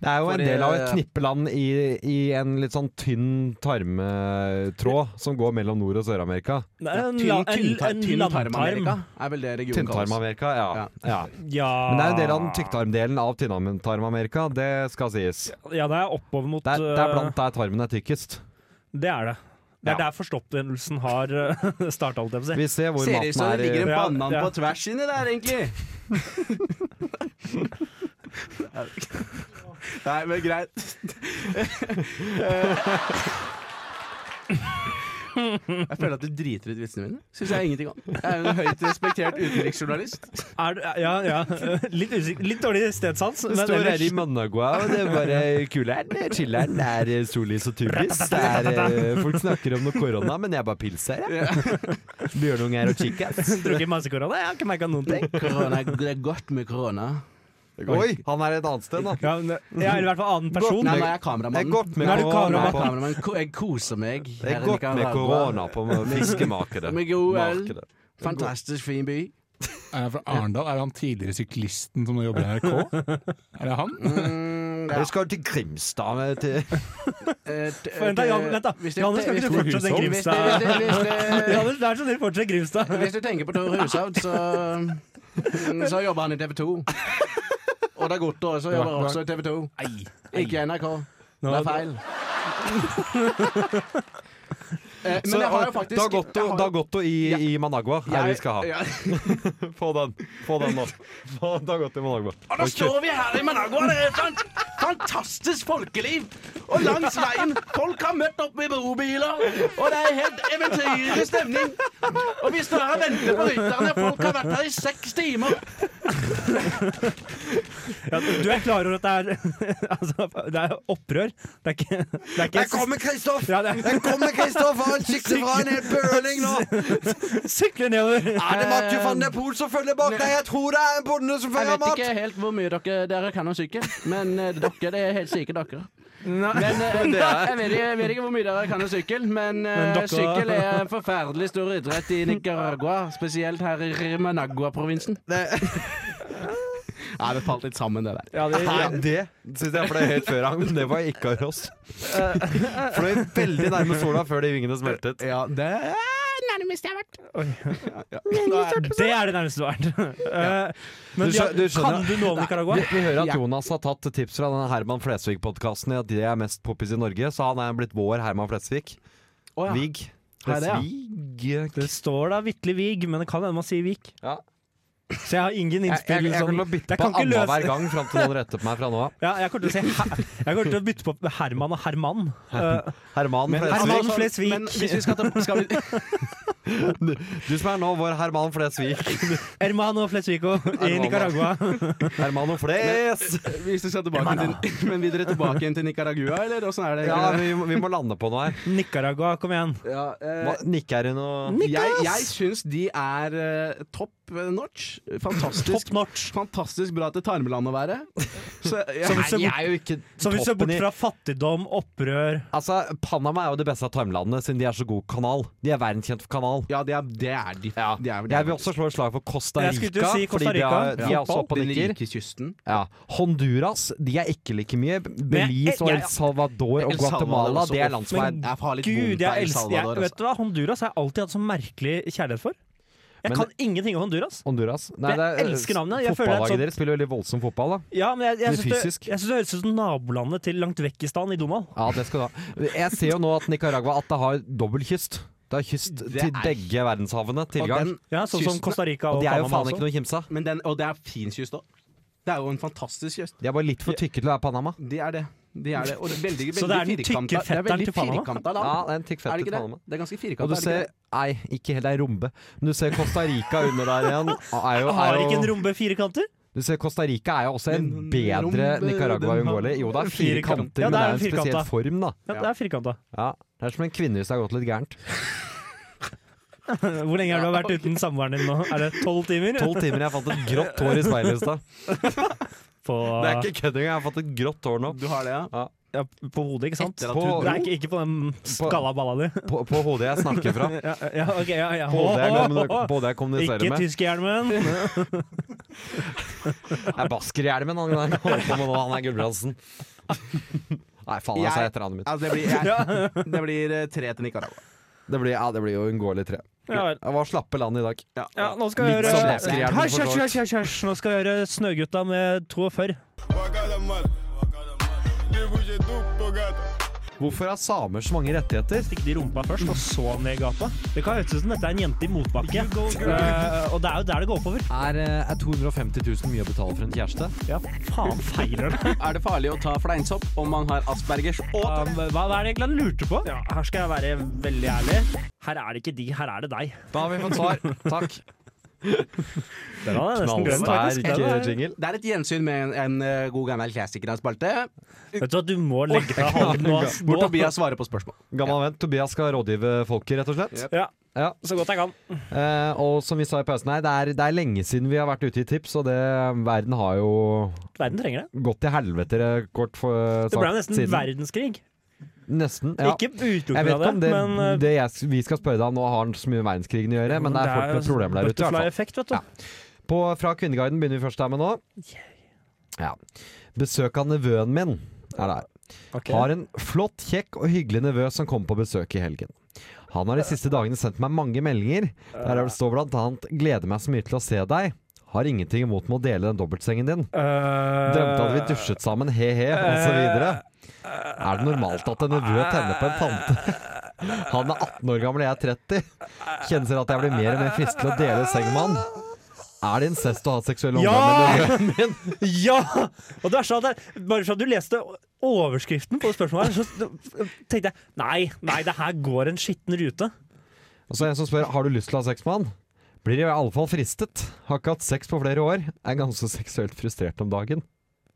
Speaker 6: Det er jo en
Speaker 2: Fordi- eh,
Speaker 6: del av et knippeland i, i en litt sånn tynn tarmetråd som går mellom Nord- og Sør-Amerika.
Speaker 5: Det er en, la- en,
Speaker 2: Tynn- tynntar-
Speaker 5: en
Speaker 2: Tynntarm-Amerika
Speaker 5: landtarm.
Speaker 2: er vel det regionen kalles.
Speaker 6: Tynntarm-Amerika, ja.
Speaker 2: Ja.
Speaker 6: ja.
Speaker 5: Ja.
Speaker 6: Men det er en del av den tykktarmdelen av tynntarm-Amerika, det skal sies.
Speaker 5: Ja, det er oppover mot
Speaker 6: Det er, det er blant
Speaker 5: uh,
Speaker 6: der tarmen er tykkest.
Speaker 5: Det er det. Det
Speaker 6: Ja.
Speaker 5: er der forstoppelsen har starta, holdt jeg på å si.
Speaker 6: Vi ser hvor
Speaker 2: Ser ut
Speaker 6: maten
Speaker 2: som
Speaker 6: er eh,
Speaker 2: det
Speaker 6: i
Speaker 2: ligger en
Speaker 5: Ja,
Speaker 2: banan
Speaker 5: ja.
Speaker 2: på tvers inni der, egentlig. Nei, men greit. Jeg føler at du driter ut vitsene mine. Syns jeg ingenting om. Jeg er jo en høyt respektert utenriksjournalist.
Speaker 5: Er du, ja, ja. Litt, usik- litt dårlig stedsans,
Speaker 6: Det
Speaker 5: men
Speaker 6: står her
Speaker 5: ellers
Speaker 6: i Managua, og det er bare kuleren, chilleren, det er solis og tubis. Det er, eh, folk snakker om noe korona, men jeg er bare pils her, jeg. Bjørnunger og chicas.
Speaker 5: drukket masse korona. Jeg har ikke merka noen ting.
Speaker 2: Korona, det er godt med korona.
Speaker 6: Oi, han er et annet sted, da.
Speaker 5: Ja, men, ja, eller i hvert fall annen person.
Speaker 2: Nei, nå
Speaker 6: Det
Speaker 2: er jeg
Speaker 6: er
Speaker 2: kameramannen.
Speaker 6: godt med
Speaker 5: Nå er du
Speaker 2: Nå er
Speaker 6: korona
Speaker 2: jeg
Speaker 6: på
Speaker 2: kameramann. Ko- Jeg koser meg.
Speaker 6: Det
Speaker 2: her
Speaker 6: er
Speaker 2: i
Speaker 6: godt med
Speaker 2: Nicaragua.
Speaker 6: korona på fiskemarkedet.
Speaker 2: Med god øl.
Speaker 6: Markedet.
Speaker 2: Fantastisk fin by.
Speaker 8: Er han fra Arendal? Er han tidligere syklisten som nå jobber i NRK? Er det han?
Speaker 2: Mm, ja.
Speaker 6: Jeg skal til Grimstad. men Til.
Speaker 2: Eh, t-
Speaker 5: Vent da, Jan- vent da.
Speaker 2: Hvis det-
Speaker 5: Johannes, kan ikke du
Speaker 2: hvis det-
Speaker 5: fortsette den
Speaker 2: hvis det-
Speaker 5: Grimstad-
Speaker 2: hvis det- hvis det-
Speaker 5: Ja, men det er sånn det fortsetter Grimstad.
Speaker 2: Hvis du tenker på Tore Hushovd, så, så jobber han i TV 2. Og det er godt, da. Så jobber han også i TV 2. Ikke i NRK. Det er feil. Eh, Men jeg har jo faktisk jeg har
Speaker 6: Dagotto,
Speaker 2: jo-
Speaker 6: Dagotto i, i Managua er det vi skal ha.
Speaker 2: Ja.
Speaker 6: Få den Få den nå. Få Dagotto i Managua.
Speaker 2: Og da står vi her i Managua. Det er sant? Fantastisk folkeliv. Og langs veien. Folk har møtt opp med brobiler. Og det er helt eventyrlig stemning. Og vi står her og venter på rytterne. Folk har vært her i seks timer.
Speaker 5: Ja, du er klar over at det er, altså, det er opprør? Det er ikke, det er ikke
Speaker 6: Kristoff!
Speaker 5: Ja, det er-
Speaker 6: kommer, Kristoff! Han sikter fra en hel bøling nå!
Speaker 5: Sykle nedover!
Speaker 6: Er det Mathieu van der Poel som følger bak deg? Jeg tror det er en bonde som
Speaker 2: Jeg vet ikke helt hvor mye dere, dere kan om sykkel, men eh, dere det er helt syke dere. Men, eh, jeg, vet ikke, jeg vet ikke hvor mye dere kan om sykkel, men, eh,
Speaker 5: dere-
Speaker 2: sykkel er en forferdelig stor idrett i Nicaragua. Spesielt her i Managua-provinsen. Nei, det falt litt sammen, det der.
Speaker 5: Ja, det,
Speaker 6: Nei, det syns jeg fløy helt før han, men det var ikke av oss. Fløy veldig nærme sola før de vingene smeltet.
Speaker 2: Ja, det
Speaker 5: det er det nærmeste du har vært. Eh, Men
Speaker 6: Du
Speaker 5: ja,
Speaker 6: skjø- du skjønner-
Speaker 5: kan du noe om Nicaragua?
Speaker 6: Vi, vi hører at Jonas har tatt tips fra denne Herman Flesvig-podkasten i at de er mest poppis i Norge, så han er blitt vår Herman Flesvig.
Speaker 2: Å ja.
Speaker 6: Vig.
Speaker 2: Er det det, ja?
Speaker 6: Flesvig
Speaker 5: Det står da vitterlig Vig, men det kan hende man sier Vik.
Speaker 6: Ja.
Speaker 5: Så jeg har ingen
Speaker 6: Jeg, jeg,
Speaker 5: innspill.
Speaker 6: jeg
Speaker 5: sånn-
Speaker 6: kommer til å bytte
Speaker 5: jeg
Speaker 6: på
Speaker 5: kan ikke
Speaker 6: Anna
Speaker 5: løse-
Speaker 6: hver gang fram til noen retter på meg fra nå av.
Speaker 5: Ja, jeg kommer til å si her, Jeg kommer til å bytte på Herman og Herman. Eh,
Speaker 6: Herman
Speaker 5: Herman
Speaker 6: Flesvig.
Speaker 5: Flesvig.
Speaker 2: Men hvis vi skal ta skal vi,
Speaker 6: Du som er nå vår Herman Flesvig.
Speaker 5: Hermano Flesvico i
Speaker 6: Hermano.
Speaker 5: Nicaragua.
Speaker 6: Herman og Fles!
Speaker 2: hvis vi skal tilbake til Men vil dere tilbake igjen til Nicaragua, eller åssen er det?
Speaker 6: Ja, vi, må- vi må lande på noe her.
Speaker 5: Nicaragua, kom igjen.
Speaker 2: Ja, eh,
Speaker 6: Hva- Nikker hun og
Speaker 2: jeg, jeg syns de er eh, topp notch. Fantastisk
Speaker 5: Top notch.
Speaker 2: Fantastisk bra til Tarmeland å være. Så jeg,
Speaker 5: Som
Speaker 6: Nei,
Speaker 5: hvis du-
Speaker 6: de er jo ikke
Speaker 5: Så vi ser bort
Speaker 6: toppen i
Speaker 5: fra fattigdom, opprør
Speaker 6: Altså, Panama er jo det beste av timelandene, siden de er så god kanal. De er verdenskjent for kanal.
Speaker 2: ja, det er, det er de. de, er, de
Speaker 6: Jeg vil også slå et slag for Costa
Speaker 5: Jeg
Speaker 6: Rica.
Speaker 5: skulle til å si Costa
Speaker 6: fordi de er,
Speaker 5: Rica.
Speaker 6: de er også oppe og
Speaker 2: den
Speaker 6: nikker.
Speaker 2: rike kysten.
Speaker 6: Ja. Honduras de er ikke like mye. Belize og
Speaker 5: jeg-
Speaker 6: El Salvador og
Speaker 2: El Salvador
Speaker 6: Guatemala
Speaker 2: også.
Speaker 6: det er land som er
Speaker 5: Men
Speaker 2: Jeg har litt
Speaker 5: Gud,
Speaker 2: vondt av
Speaker 5: jeg
Speaker 2: El
Speaker 5: elsker jeg,
Speaker 6: altså.
Speaker 2: Salvador. altså.
Speaker 5: Vet du hva, Honduras har jeg alltid hatt så merkelig kjærlighet for. Jeg
Speaker 6: Men-
Speaker 5: kan ingenting om Honduras.
Speaker 6: Honduras.
Speaker 5: Jeg elsker navnet. Jeg føler sånn- det er et
Speaker 6: Fotballaget
Speaker 5: sånt-
Speaker 6: deres spiller veldig voldsom fotball, da.
Speaker 5: Ja, men jeg, jeg,
Speaker 6: Det er
Speaker 5: synes
Speaker 6: fysisk.
Speaker 5: det, jeg synes det høres ut som nabolandet til langt vekk i stan, i Donald.
Speaker 6: Ja, det skal du ha. Jeg ser jo nå at Nicaragua at det har dobbel kyst. Det har kyst
Speaker 2: Det
Speaker 6: til
Speaker 2: er-
Speaker 6: begge verdenshavene.
Speaker 2: Og den,
Speaker 6: Tilgang.
Speaker 5: Ja, sånn som
Speaker 2: kysten-
Speaker 5: Costa Rica
Speaker 6: Og
Speaker 5: og
Speaker 6: de er jo
Speaker 5: Panama
Speaker 6: faen ikke
Speaker 5: også.
Speaker 6: noe kimse av.
Speaker 2: men den, og det er fin kyst òg. Det er jo en fantastisk kyst.
Speaker 6: De er bare litt for tykke til å være Panama.
Speaker 2: Det er det. Det er det. Og det er veldig, veldig
Speaker 5: Så det er den tykke
Speaker 2: firkanta- det er
Speaker 5: fetteren
Speaker 2: veldig
Speaker 5: til Panama?
Speaker 2: firkanta land.
Speaker 6: Ja, det er en tykk
Speaker 2: er det
Speaker 6: fett
Speaker 2: ikke
Speaker 6: til
Speaker 2: det?
Speaker 6: Panama.
Speaker 2: Det er ganske firkanta.
Speaker 6: Og du
Speaker 2: er det ikke
Speaker 6: ser
Speaker 2: det?
Speaker 6: Nei, ikke helt ei rombe, men du ser Costa Rica under der igjen. Er jo,
Speaker 5: Har
Speaker 6: er
Speaker 5: ikke en
Speaker 6: jo,
Speaker 5: rombe firkanter?
Speaker 6: du ser Costa Rica er jo også en
Speaker 2: Men
Speaker 6: bedre
Speaker 2: rombe,
Speaker 6: Nicaragua
Speaker 2: den
Speaker 6: og Ungoli. Jo, det er fire
Speaker 5: Firkant.
Speaker 6: kanter,
Speaker 5: Ja,
Speaker 6: men det er jo en
Speaker 5: firkanta.
Speaker 6: spesiell form, da.
Speaker 5: Ja, det er firkanta.
Speaker 6: Ja, Det er som en kvinne hvis det har gått litt gærent.
Speaker 5: Hvor lenge har du vært uten samboeren din nå? Er det tolv timer?
Speaker 6: Tolv timer, jeg fant et grått hår i speilet i stad.
Speaker 5: På,
Speaker 6: Det er ikke kødd engang, jeg har fått et grått hår nå.
Speaker 2: Du har det, ja?
Speaker 5: ja, på hodet, ikke sant?
Speaker 2: Etter at
Speaker 6: På-
Speaker 5: Det er ikke, ikke på den skalla balla di.
Speaker 6: På, på hodet jeg snakker fra.
Speaker 5: Ja, ja, ok, ja, ja.
Speaker 6: På hodet jeg, kommu- på hodet jeg kommuniserer
Speaker 5: Ikke
Speaker 6: med.
Speaker 5: tyskerhjelmen!
Speaker 6: Jeg basker i hjelmen, han han holder på med nå, han er Gulbrandsen. Nei, faen, jeg sa et eller annet mitt.
Speaker 2: Altså, det blir, jeg, det blir eh, tre til Nicaragua.
Speaker 6: Det blir, ja, det blir jo uunngåelig tre.
Speaker 5: Ja vel.
Speaker 6: Det var slappe land i dag.
Speaker 2: Ja.
Speaker 5: Ja, nå skal vi
Speaker 6: Litt
Speaker 5: gjøre
Speaker 6: som basker i hjelmen, for
Speaker 5: Hysj,
Speaker 6: så
Speaker 5: hysj,
Speaker 6: vidt.
Speaker 5: hysj, hysj, hysj. Nå skal vi gjøre Snøgutta med 42.
Speaker 6: Hvorfor har samer så mange rettigheter?
Speaker 5: Stikk de rumpa først, og så ned i gata. Det kan høres ut som dette er en jente i motbakke. Eh, og det er jo der det går oppover.
Speaker 6: Er, eh, er 250 000 mye å betale for en kjæreste?
Speaker 5: Ja, faen feiler det.
Speaker 2: Er det farlig å ta fleinsopp om man har aspergers og
Speaker 5: Um, hva hva er det egentlig han lurte på? Ja, her skal jeg være veldig ærlig. Her er det ikke de, her er det deg.
Speaker 6: Da har vi fått svar. Takk.
Speaker 5: Den hadde jeg nesten glemt, faktisk.
Speaker 6: Knallsterk
Speaker 5: Den
Speaker 6: eh,
Speaker 5: er-
Speaker 6: jingle.
Speaker 2: Det er et gjensyn med en, en eh, god gammel klassiker av spalte,
Speaker 5: Vet du hva, du må legge deg halv nå. ass.
Speaker 2: hvor
Speaker 5: Nå.
Speaker 2: Tobias svarer på spørsmål.
Speaker 6: Gammel venn Tobias skal rådgive folket, rett og slett.
Speaker 2: Yep.
Speaker 5: Ja,
Speaker 6: Ja.
Speaker 5: så godt jeg kan.
Speaker 6: Eh, og som vi sa i pausen her, det er, det er lenge siden vi har vært ute i tips, og det, verden har jo
Speaker 5: Verden trenger det.
Speaker 6: gått til helvete eh, kort for,
Speaker 5: Det ble jo nesten
Speaker 6: siden.
Speaker 5: verdenskrig.
Speaker 6: Nesten, ja.
Speaker 5: Ikke
Speaker 6: Jeg
Speaker 5: utelukkende
Speaker 6: vet ikke
Speaker 5: av
Speaker 6: om det,
Speaker 5: det, men eh,
Speaker 6: det jeg, vi skal spørre deg om nå har han så mye med verdenskrigen å gjøre, men det er folk med problemer der ute. i hvert fall.
Speaker 5: Butterfly-effekt, vet du.
Speaker 6: Ja. På, fra Kvinneguiden begynner vi først her med nå. Ja. Besøk av nevøen min er der.
Speaker 5: Ok.
Speaker 6: Har en flott, kjekk og hyggelig nevø som kommer på besøk i helgen. Han har de siste dagene sendt meg mange meldinger, der det står blant annet 'Gleder meg så mye til å se deg'. Har ingenting imot med å dele den dobbeltsengen din.
Speaker 5: Eh,
Speaker 6: Drømte at vi dusjet sammen, he-he, osv. Er det normalt at en nevø tenner på en tante? Han er 18 år gammel, jeg er 30. Kjennes det at jeg blir mer og mer fristet til å dele seng med han. Er det incest å ha seksuell omgang med nevøen min?
Speaker 5: Ja! Og det verste av alt er Bare for at du leste overskriften på det spørsmålet, her, så tenkte jeg nei, nei, det her går en skitten rute.
Speaker 6: Og så er det en som spør har du lyst til å ha sex med han. Blir i alle fall fristet. Har ikke hatt sex på flere år. Er ganske seksuelt frustrert om dagen.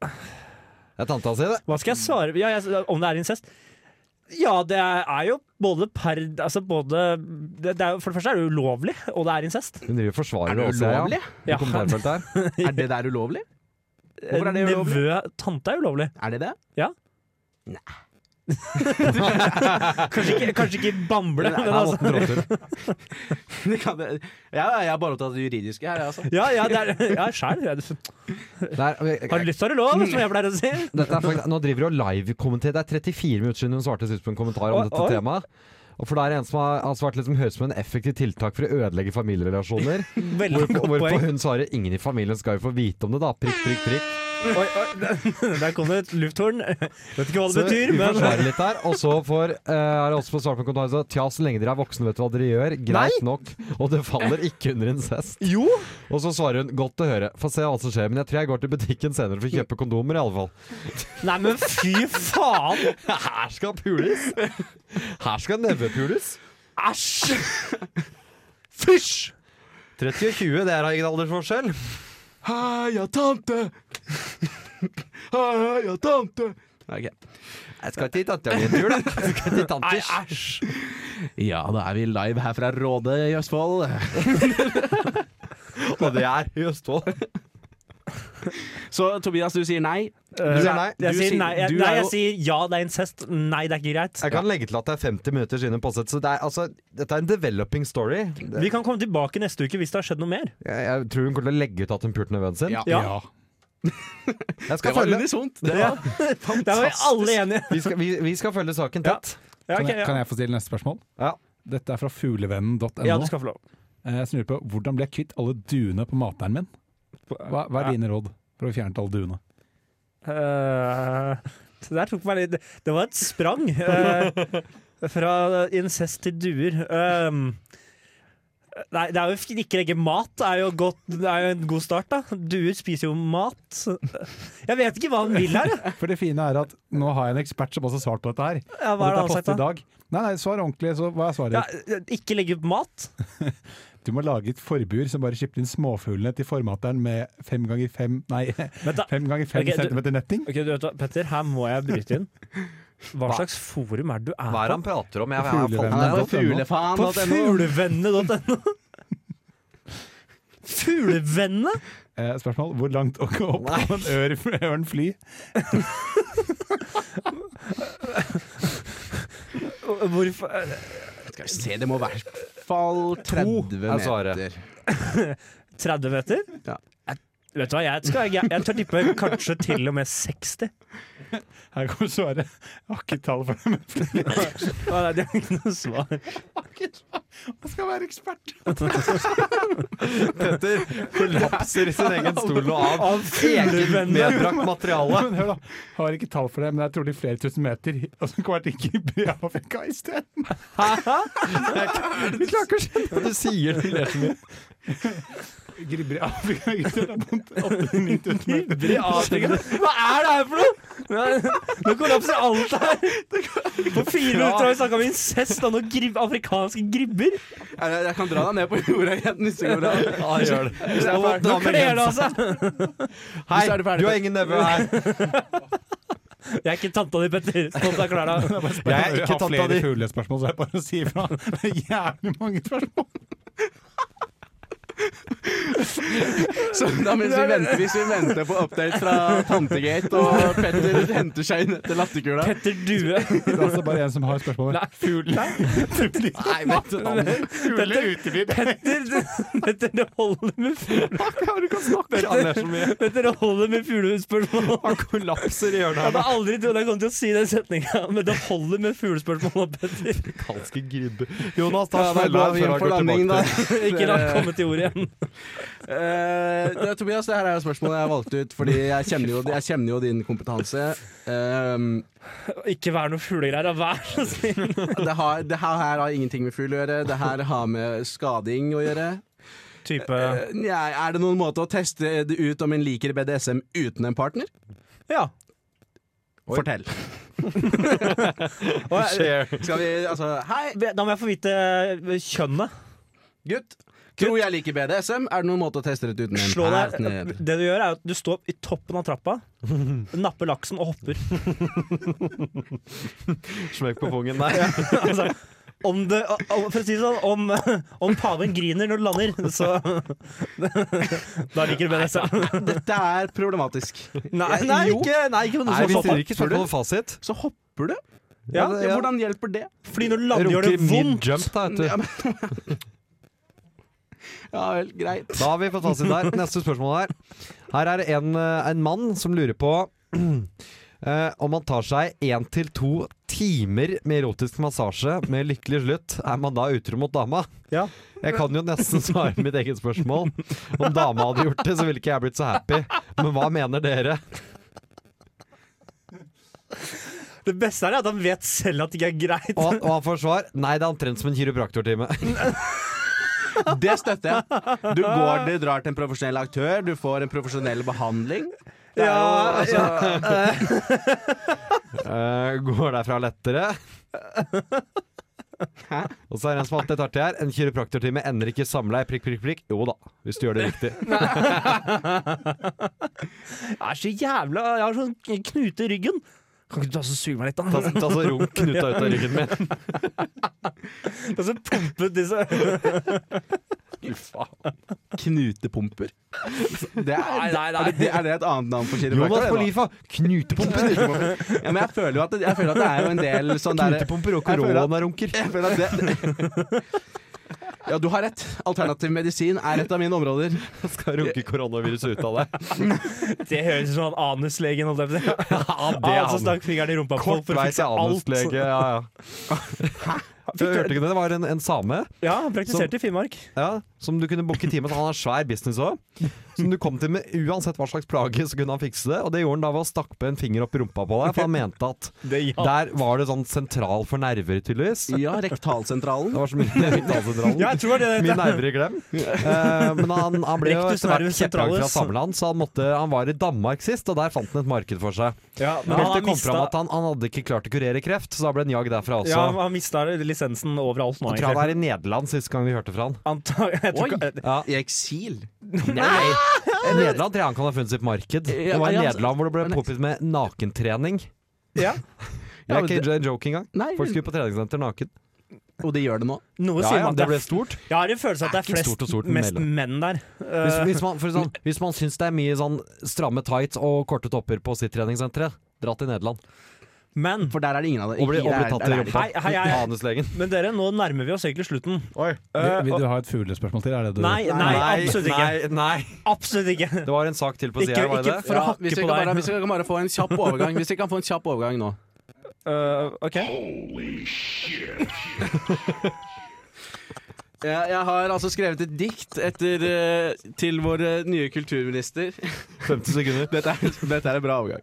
Speaker 6: Det er tanta si, det.
Speaker 5: Hva skal jeg svare? Ja, jeg, om det er incest? Ja, det er jo både per Altså både det, det er, jo- For det første er det ulovlig, og det er incest.
Speaker 6: Hun driver og forsvarer
Speaker 2: Er det
Speaker 6: det også,
Speaker 2: ulovlig?
Speaker 6: ja. I kommentarfeltet her.
Speaker 2: Er det der ulovlig? Hvorfor er det ulovlig?
Speaker 5: Nevø Tante er ulovlig.
Speaker 2: Er det det?
Speaker 5: Kanskje ikke, kanskje ikke bamble,
Speaker 6: Det
Speaker 5: men
Speaker 6: er
Speaker 5: altså
Speaker 6: Morten Bråtun.
Speaker 2: Det kan det. Ja, jeg er bare opptatt av det juridiske her, jeg, altså.
Speaker 5: Ja, ja, det er, ja sjæl. Har
Speaker 6: Det er- ok,
Speaker 5: du lyst, har du lov, som jeg pleier å si.
Speaker 6: Dette er faktisk, nå driver hun og livekommenterer. Det er 34 minutter siden hun svarte sist på en kommentar om
Speaker 5: Oi,
Speaker 6: dette
Speaker 5: oi.
Speaker 6: temaet. Og for det er en som har, har svart liksom, høres ut som en effektiv tiltak for å ødelegge familierelasjoner.
Speaker 5: Veldig
Speaker 6: Hvorpå,
Speaker 5: godt
Speaker 6: hvorpå
Speaker 5: poeng.
Speaker 6: hun svarer 'ingen i familien skal jo få vite om det', da. Prikk, prikk, prikk.
Speaker 5: Oi, oi, der kom det et lufthorn. Vet ikke hva det
Speaker 6: Så
Speaker 5: betyr,
Speaker 6: vi
Speaker 5: men
Speaker 6: forsvarer litt der. Og så får eh, er det også på svart på en kommentar så, Tja, så lenge dere er voksne, vet du hva dere gjør. Greit nok. Og det faller ikke under incest.
Speaker 5: Jo!
Speaker 6: Og så svarer hun 'godt å høre'. Få se hva som skjer. Men jeg tror jeg går til butikken senere for å kjøpe kondomer, i alle fall.
Speaker 5: Nei, men fy faen!
Speaker 6: Her skal pules! Her skal nevepules!
Speaker 5: Æsj! Fysj!
Speaker 6: 30 og 20, det er ingen aldersforskjell.
Speaker 2: Heia tante! Heia tante! Ok.
Speaker 6: Jeg skal til tanta mi en tur, da. Jeg skal til
Speaker 5: Nei,
Speaker 6: tanters.
Speaker 5: æsj!
Speaker 2: Ja, da er vi live her fra Råde i Østfold.
Speaker 6: Og det er i Østfold.
Speaker 2: Så Tobias, du sier nei.
Speaker 6: Du sier nei.
Speaker 5: Jeg
Speaker 2: Du
Speaker 5: sier
Speaker 2: sier-
Speaker 5: nei. Jeg,
Speaker 2: du
Speaker 5: nei,
Speaker 2: er
Speaker 5: jeg
Speaker 2: jo-
Speaker 5: sier ja, det er incest. Nei, det er ikke greit.
Speaker 6: Jeg kan legge til at det er 50 minutter siden en påsett, så det er, altså, dette er en developing story. Det,
Speaker 5: Vi kan komme tilbake neste uke hvis det har skjedd noe mer.
Speaker 6: jeg, jeg tror hun kommer til å legge ut at hun pulte nevøen sin.
Speaker 2: Ja.
Speaker 5: Ja,
Speaker 8: Ja.
Speaker 6: Jeg
Speaker 2: Det
Speaker 6: skal
Speaker 2: var
Speaker 6: følge,
Speaker 2: unisont. Det var
Speaker 5: Der var vi alle enige.
Speaker 6: vi, skal, vi, vi skal følge saken
Speaker 5: Ja.
Speaker 6: tett.
Speaker 5: Ja,
Speaker 8: Kan,
Speaker 5: ok,
Speaker 8: jeg, kan
Speaker 5: ja.
Speaker 8: jeg få stille neste spørsmål?
Speaker 6: Ja.
Speaker 8: Dette er fra fuglevennen.no.
Speaker 5: ja, du skal få lov.
Speaker 8: Eh, Jeg snur på hvordan ble jeg kvitt alle duene på materen min? Hva, hva er dine råd for å fjerne alle duene?
Speaker 5: Eh, det der tok meg litt Det var et sprang. eh, fra incest til duer. Um, Nei, det er jo f- ikke legge mat. Det er jo, godt, det er jo en god start, da. Duer spiser jo mat. Jeg vet ikke hva han vil her. jeg.
Speaker 8: For det fine er at nå har jeg en ekspert som også har svart på dette her.
Speaker 5: Ja, hva er det
Speaker 8: og dette
Speaker 5: han har sagt
Speaker 8: postet i
Speaker 5: da?
Speaker 8: dag. Nei, nei, svar ordentlig, så hva er svaret?
Speaker 5: Ja, eh, ikke legge ut mat?
Speaker 8: Du må lage et forbur som bare skipper inn småfuglene til formateren med fem ganger fem Nei,
Speaker 5: da-
Speaker 8: fem ganger fem
Speaker 5: Ok, du-
Speaker 8: centimeter netting.
Speaker 5: Ok, du vet hva, Petter, her må jeg bryte inn. Hva
Speaker 6: Hva?
Speaker 5: slags forum er det du
Speaker 6: Hva er
Speaker 5: er
Speaker 6: det han
Speaker 5: på?
Speaker 6: prater om? Jeg, jeg, jeg,
Speaker 8: Fuglevenner.
Speaker 2: Han er på
Speaker 8: Fuglevenner.
Speaker 5: På fuglevennene.no.
Speaker 2: fuglefan.no.
Speaker 5: Fuglevennene?
Speaker 8: Eh, spørsmål hvor langt å gå opp kan en ør, ørn fly?
Speaker 5: Hvorfor eh,
Speaker 2: Skal vi se, det må være i hvert fall 30
Speaker 6: er svaret.
Speaker 2: meter.
Speaker 5: 30 meter?
Speaker 2: Ja.
Speaker 5: Jeg- Vet du hva, jeg, skal, jeg, jeg tør tippe kanskje til og med 60.
Speaker 8: Her kommer svaret. Jeg har ikke tall for det, men
Speaker 5: Å, nei, det er ikke noe svar.
Speaker 8: jeg skal være ekspert.
Speaker 6: Petter kollapser i sin egen stol og av
Speaker 5: Av
Speaker 6: eget
Speaker 5: fuglevennene.
Speaker 6: medbrakt materiale.
Speaker 8: Men hør da, har ikke tall for det, men jeg tror det er flere tusen meter. Og så kommer jeg til ikke i Afrika isteden.
Speaker 6: Du klarer ikke å skjønne hva du sier. Du ler så mye.
Speaker 8: Gribber i Afrika gutter, det er vondt. 8-9 000 meter.
Speaker 5: Aldri avtenkende. Hva er det her for noe?! Nå kollapser alt her! På fire minutter har vi snakka om incest og noen grib afrikanske gribber.
Speaker 2: Jeg, jeg, jeg kan dra deg ned på jorda igjen hvis det går bra.
Speaker 6: Ja, gjør det.
Speaker 2: Hvis jeg er ferdig.
Speaker 5: Nå kler det av seg!
Speaker 6: Hei,
Speaker 2: Hvis er det ferdig.
Speaker 6: du har ingen nevø her.
Speaker 5: Jeg er ikke tanta di, Petter. Sånn Stolt av klærne.
Speaker 6: Jeg er ikke
Speaker 8: har
Speaker 6: tanta
Speaker 8: flere
Speaker 6: di.
Speaker 8: fuglespørsmål, så er det bare å si ifra. Det er jævlig mange spørsmål.
Speaker 2: Så da mens vi venter, hvis vi venter på update fra Tantegate, og Petter henter seg inn etter latterkula
Speaker 5: Petter Due.
Speaker 8: Det er altså bare en som har spørsmål. Fuglen
Speaker 2: Nei, vent litt, da.
Speaker 8: uteblir.
Speaker 5: Petter, du- Petter, det holder med fugle.
Speaker 6: Du kan snakke. Han ler så mye.
Speaker 5: Petter, det holder med fuglespørsmål.
Speaker 6: Han kollapser i
Speaker 5: Jeg
Speaker 6: hjørnet
Speaker 5: hadde
Speaker 6: her.
Speaker 5: aldri trodd jeg kom til å si den setninga, men det holder med fuglespørsmål. Petter.
Speaker 6: Afrikanske gribbe. Jonas, ta
Speaker 2: Ja, da
Speaker 6: smella
Speaker 2: går
Speaker 6: før
Speaker 2: vi hjem
Speaker 6: han
Speaker 2: for
Speaker 6: går
Speaker 2: landing, da.
Speaker 6: tilbake til
Speaker 5: Ikke la han komme til ordet igjen.
Speaker 2: Eh, det er Tobias, det her er jo spørsmålet jeg valgte ut, fordi jeg kjenner jo, jeg kjenner jo din kompetanse. Um,
Speaker 5: Ikke vær noe fuglegreier, da. Vær så snill.
Speaker 2: det, har, det her, her har ingenting med fugl å gjøre, det her har med skading å gjøre.
Speaker 5: Type
Speaker 2: Eh, Nei, er det noen måte å teste det ut om en liker BDSM uten en partner?
Speaker 5: Ja.
Speaker 2: Fortell.
Speaker 6: Share.
Speaker 2: Skal vi altså Hei,
Speaker 5: eh, Da må jeg få vite eh, kjønnet.
Speaker 2: gutt. Tror jeg liker BDSM. Er det noen måte å teste det ut uten en
Speaker 5: Slå deg.
Speaker 2: partner?
Speaker 5: Det du gjør, er at du står i toppen av trappa, napper laksen og hopper.
Speaker 6: Smekk på pungen. Nei.
Speaker 5: Altså, om det, om- for å si det sånn, om, om paven griner når du lander, så Da liker du BDSM.
Speaker 2: Dette er problematisk.
Speaker 5: Nei,
Speaker 2: Jeg-
Speaker 5: nei,
Speaker 2: jo.
Speaker 5: ikke, nei, ikke på sånn
Speaker 6: Nei,
Speaker 5: noe
Speaker 6: vi
Speaker 5: sånt.
Speaker 6: stiller ikke spørsmål om fasit.
Speaker 2: Så hopper du.
Speaker 5: Ja,
Speaker 2: Ja,
Speaker 6: ja.
Speaker 2: Hvordan hjelper det?
Speaker 5: Fordi når du lander, gjør det
Speaker 6: Runker
Speaker 5: vondt.
Speaker 6: mid-jump, da,
Speaker 2: Ja,
Speaker 6: vet du.
Speaker 2: men- ja vel, greit.
Speaker 6: Da har vi fått fasit der. Neste spørsmål her. Her er det en, eh, en mann som lurer på eh, om han tar seg én til to timer med erotisk massasje med lykkelig slutt, er man da utro mot dama?
Speaker 5: Ja.
Speaker 6: Jeg kan jo nesten svare mitt eget spørsmål. Om dama hadde gjort det, så ville ikke jeg blitt så happy. Men hva mener dere?
Speaker 5: Det beste er at han vet selv at det ikke er greit.
Speaker 6: Og, og han får svar nei, det er omtrent som en kiropraktortime.
Speaker 2: Det støtter jeg. Du går, du drar til en profesjonell aktør, du får en profesjonell behandling. Det er jo,
Speaker 5: Ja,
Speaker 2: altså,
Speaker 5: ja.
Speaker 6: Eh, går derfra lettere. Og så er det en som alltid tar til her. En kiropraktortime ender ikke samleie, prikk, prikk, prikk. Jo da, hvis du gjør det riktig.
Speaker 5: Jeg er så jævla Jeg har sånn knute i ryggen. Kan ikke du ta så suge meg litt,
Speaker 6: Ta,
Speaker 5: da?
Speaker 6: ta så runk knuta ut av ryggen min.
Speaker 5: Og så pumpet disse
Speaker 2: knutepumper. Det er,
Speaker 5: Nei, nei, nei.
Speaker 2: Er, det, er det et annet navn for
Speaker 6: Jonas
Speaker 2: kiropraktor? det da?
Speaker 6: Polifa, knutepumper!
Speaker 2: Ja, men jeg føler jo at det, jeg føler at det er jo en del sånn der
Speaker 6: Knutepumper og
Speaker 2: Jeg føler at-
Speaker 6: koronarunker.
Speaker 2: Jeg føler at det Ja, du har rett. Alternativ medisin er et av mine områder.
Speaker 6: Skal runke koronaviruset ut av deg.
Speaker 5: Det høres ut som han anuslegen. holdt jeg på å si. Han som stakk fingeren i rumpa på folk
Speaker 6: Kort
Speaker 5: for å
Speaker 6: vei
Speaker 5: fikse
Speaker 6: til
Speaker 5: alt.
Speaker 6: anuslege. Ja, ja. Du hørte ikke det? Det var en, en same
Speaker 5: Ja, han praktiserte i Finnmark.
Speaker 6: ja, som du kunne booke time til. Han har svær business òg. Som du kom til med uansett hva slags plage, så kunne han fikse det. Og det gjorde han da ved å stappe en finger opp i rumpa på deg, for han mente at der var det sånn sentral for nerver, tydeligvis.
Speaker 2: Ja, rektalsentralen.
Speaker 6: Det var så mye rektalsentralen.
Speaker 5: Ja, jeg tror det er det.
Speaker 6: Mye nerver i glem. Eh, men han, han ble jo
Speaker 5: Rectus
Speaker 6: etter hvert
Speaker 5: nervus
Speaker 6: kjeppjagd fra
Speaker 5: centralis.
Speaker 6: samland, så han, måtte, han var i Danmark sist, og der fant han et marked for seg.
Speaker 5: Ja, men
Speaker 6: Helt
Speaker 5: han
Speaker 6: til
Speaker 5: har
Speaker 6: det kom
Speaker 5: mistet-
Speaker 6: fram at han, han hadde ikke klart å kurere kreft, så da ble han jagd derfra også.
Speaker 5: Ja, han mista lisensen overalt nå.
Speaker 6: jeg tror han
Speaker 5: egentlig.
Speaker 6: er i Nederland siste gang vi hørte fra han.
Speaker 5: Antag- jeg tror ikke- eh,
Speaker 6: Ja.
Speaker 2: I eksil?
Speaker 6: Nei! Nederland tror jeg han kan ha funnet sitt marked. Det var i
Speaker 2: Ja, ja,
Speaker 6: Nederland hvor det ble påpekt med nakentrening.
Speaker 5: Ja.
Speaker 6: Det
Speaker 2: Ja,
Speaker 6: er
Speaker 2: men
Speaker 6: ikke en joke engang.
Speaker 2: Nei,
Speaker 6: Folk
Speaker 2: men-
Speaker 6: skulle på treningssenter naken.
Speaker 2: Og det gjør det nå.
Speaker 5: Noe
Speaker 6: Ja,
Speaker 5: sier
Speaker 6: ja,
Speaker 5: meg at
Speaker 6: det
Speaker 5: er-
Speaker 6: ble stort.
Speaker 5: Jeg har en følelse av at det
Speaker 6: Det
Speaker 5: er
Speaker 6: er ikke
Speaker 5: flest,
Speaker 6: stort og stort, men
Speaker 5: mest
Speaker 6: mellom.
Speaker 5: menn der.
Speaker 6: Hvis,
Speaker 5: Eh,
Speaker 6: hvis, man, for sånn, hvis man syns det er mye sånn stramme tights og korte topper på sitt treningssenter, dra til Nederland.
Speaker 5: men
Speaker 2: For der er det ingen av det.
Speaker 6: Og bli,
Speaker 2: Ikke-
Speaker 6: og bli
Speaker 2: der-
Speaker 6: tatt
Speaker 2: der
Speaker 6: i
Speaker 2: er det
Speaker 6: rumpa.
Speaker 5: Hei, hei, hei.
Speaker 6: Anuslegen.
Speaker 5: men dere, nå nærmer vi oss egentlig slutten. Eh,
Speaker 8: Vil,
Speaker 5: og-
Speaker 8: vil du ha et fuglespørsmål til? Er det du
Speaker 5: Nei, nei, absolutt
Speaker 6: Nei,
Speaker 5: ikke.
Speaker 6: nei.
Speaker 5: Absolutt ikke.
Speaker 6: Det var en sak til på
Speaker 5: Ikke,
Speaker 6: sida her, var det
Speaker 5: ikke
Speaker 6: det?
Speaker 5: for å
Speaker 2: Ja,
Speaker 5: hakke
Speaker 2: hvis vi
Speaker 5: på
Speaker 2: kan bare,
Speaker 5: deg.
Speaker 2: hvis vi kan bare få en kjapp overgang Hvis vi kan få en kjapp overgang nå.
Speaker 5: Eh, ok.
Speaker 2: Jeg, jeg har altså skrevet et dikt etter, eh, til vår nye kulturminister.
Speaker 6: 50 sekunder.
Speaker 2: Dette er, dette er en bra overgang.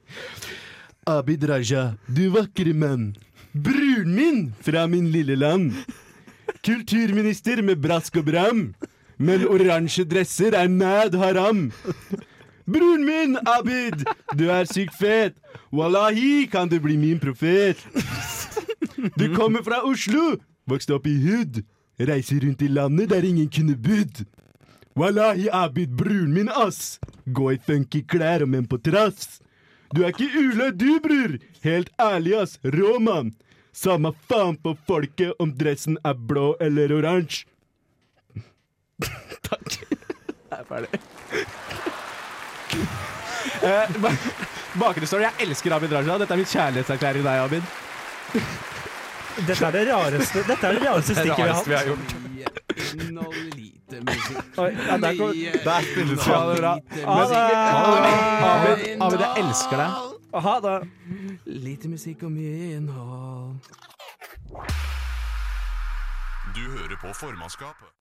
Speaker 2: Abid Raja, du vakre mann. Brun min fra min lille land. Kulturminister med brask og bram. Men oransje dresser er mad haram. Broren min, Abid, du er sykt fet. Wallahi kan du bli min profet. Du kommer fra Oslo, vokste opp i hud. Reiser rundt i landet der ingen kunne budd. Wallahi, Abid, broren min, ass. Gå i funky klær, om enn på trass. Du er ikke ula, du, bror. Helt ærlig, ass. Rå mann. Samme faen på folket om dressen er blå eller oransje. Takk. Jeg er ferdig. Eh, Bakgrunnsstory. Jeg elsker Abid Raja. Dette er min kjærlighetserklæring til deg, Abid.
Speaker 5: Dette er det rareste, dette er det rareste stikket vi har hatt.
Speaker 6: har gjort.
Speaker 2: Inneholder lite musikk.
Speaker 5: Oi, ja, der kom-
Speaker 6: Der spilles det.
Speaker 2: bra.
Speaker 5: Ha
Speaker 8: Ah!
Speaker 5: det!
Speaker 2: Abid, jeg elsker deg.
Speaker 5: Ha det!
Speaker 2: Lite musikk og mye innhold.
Speaker 1: Du hører på formannskapet.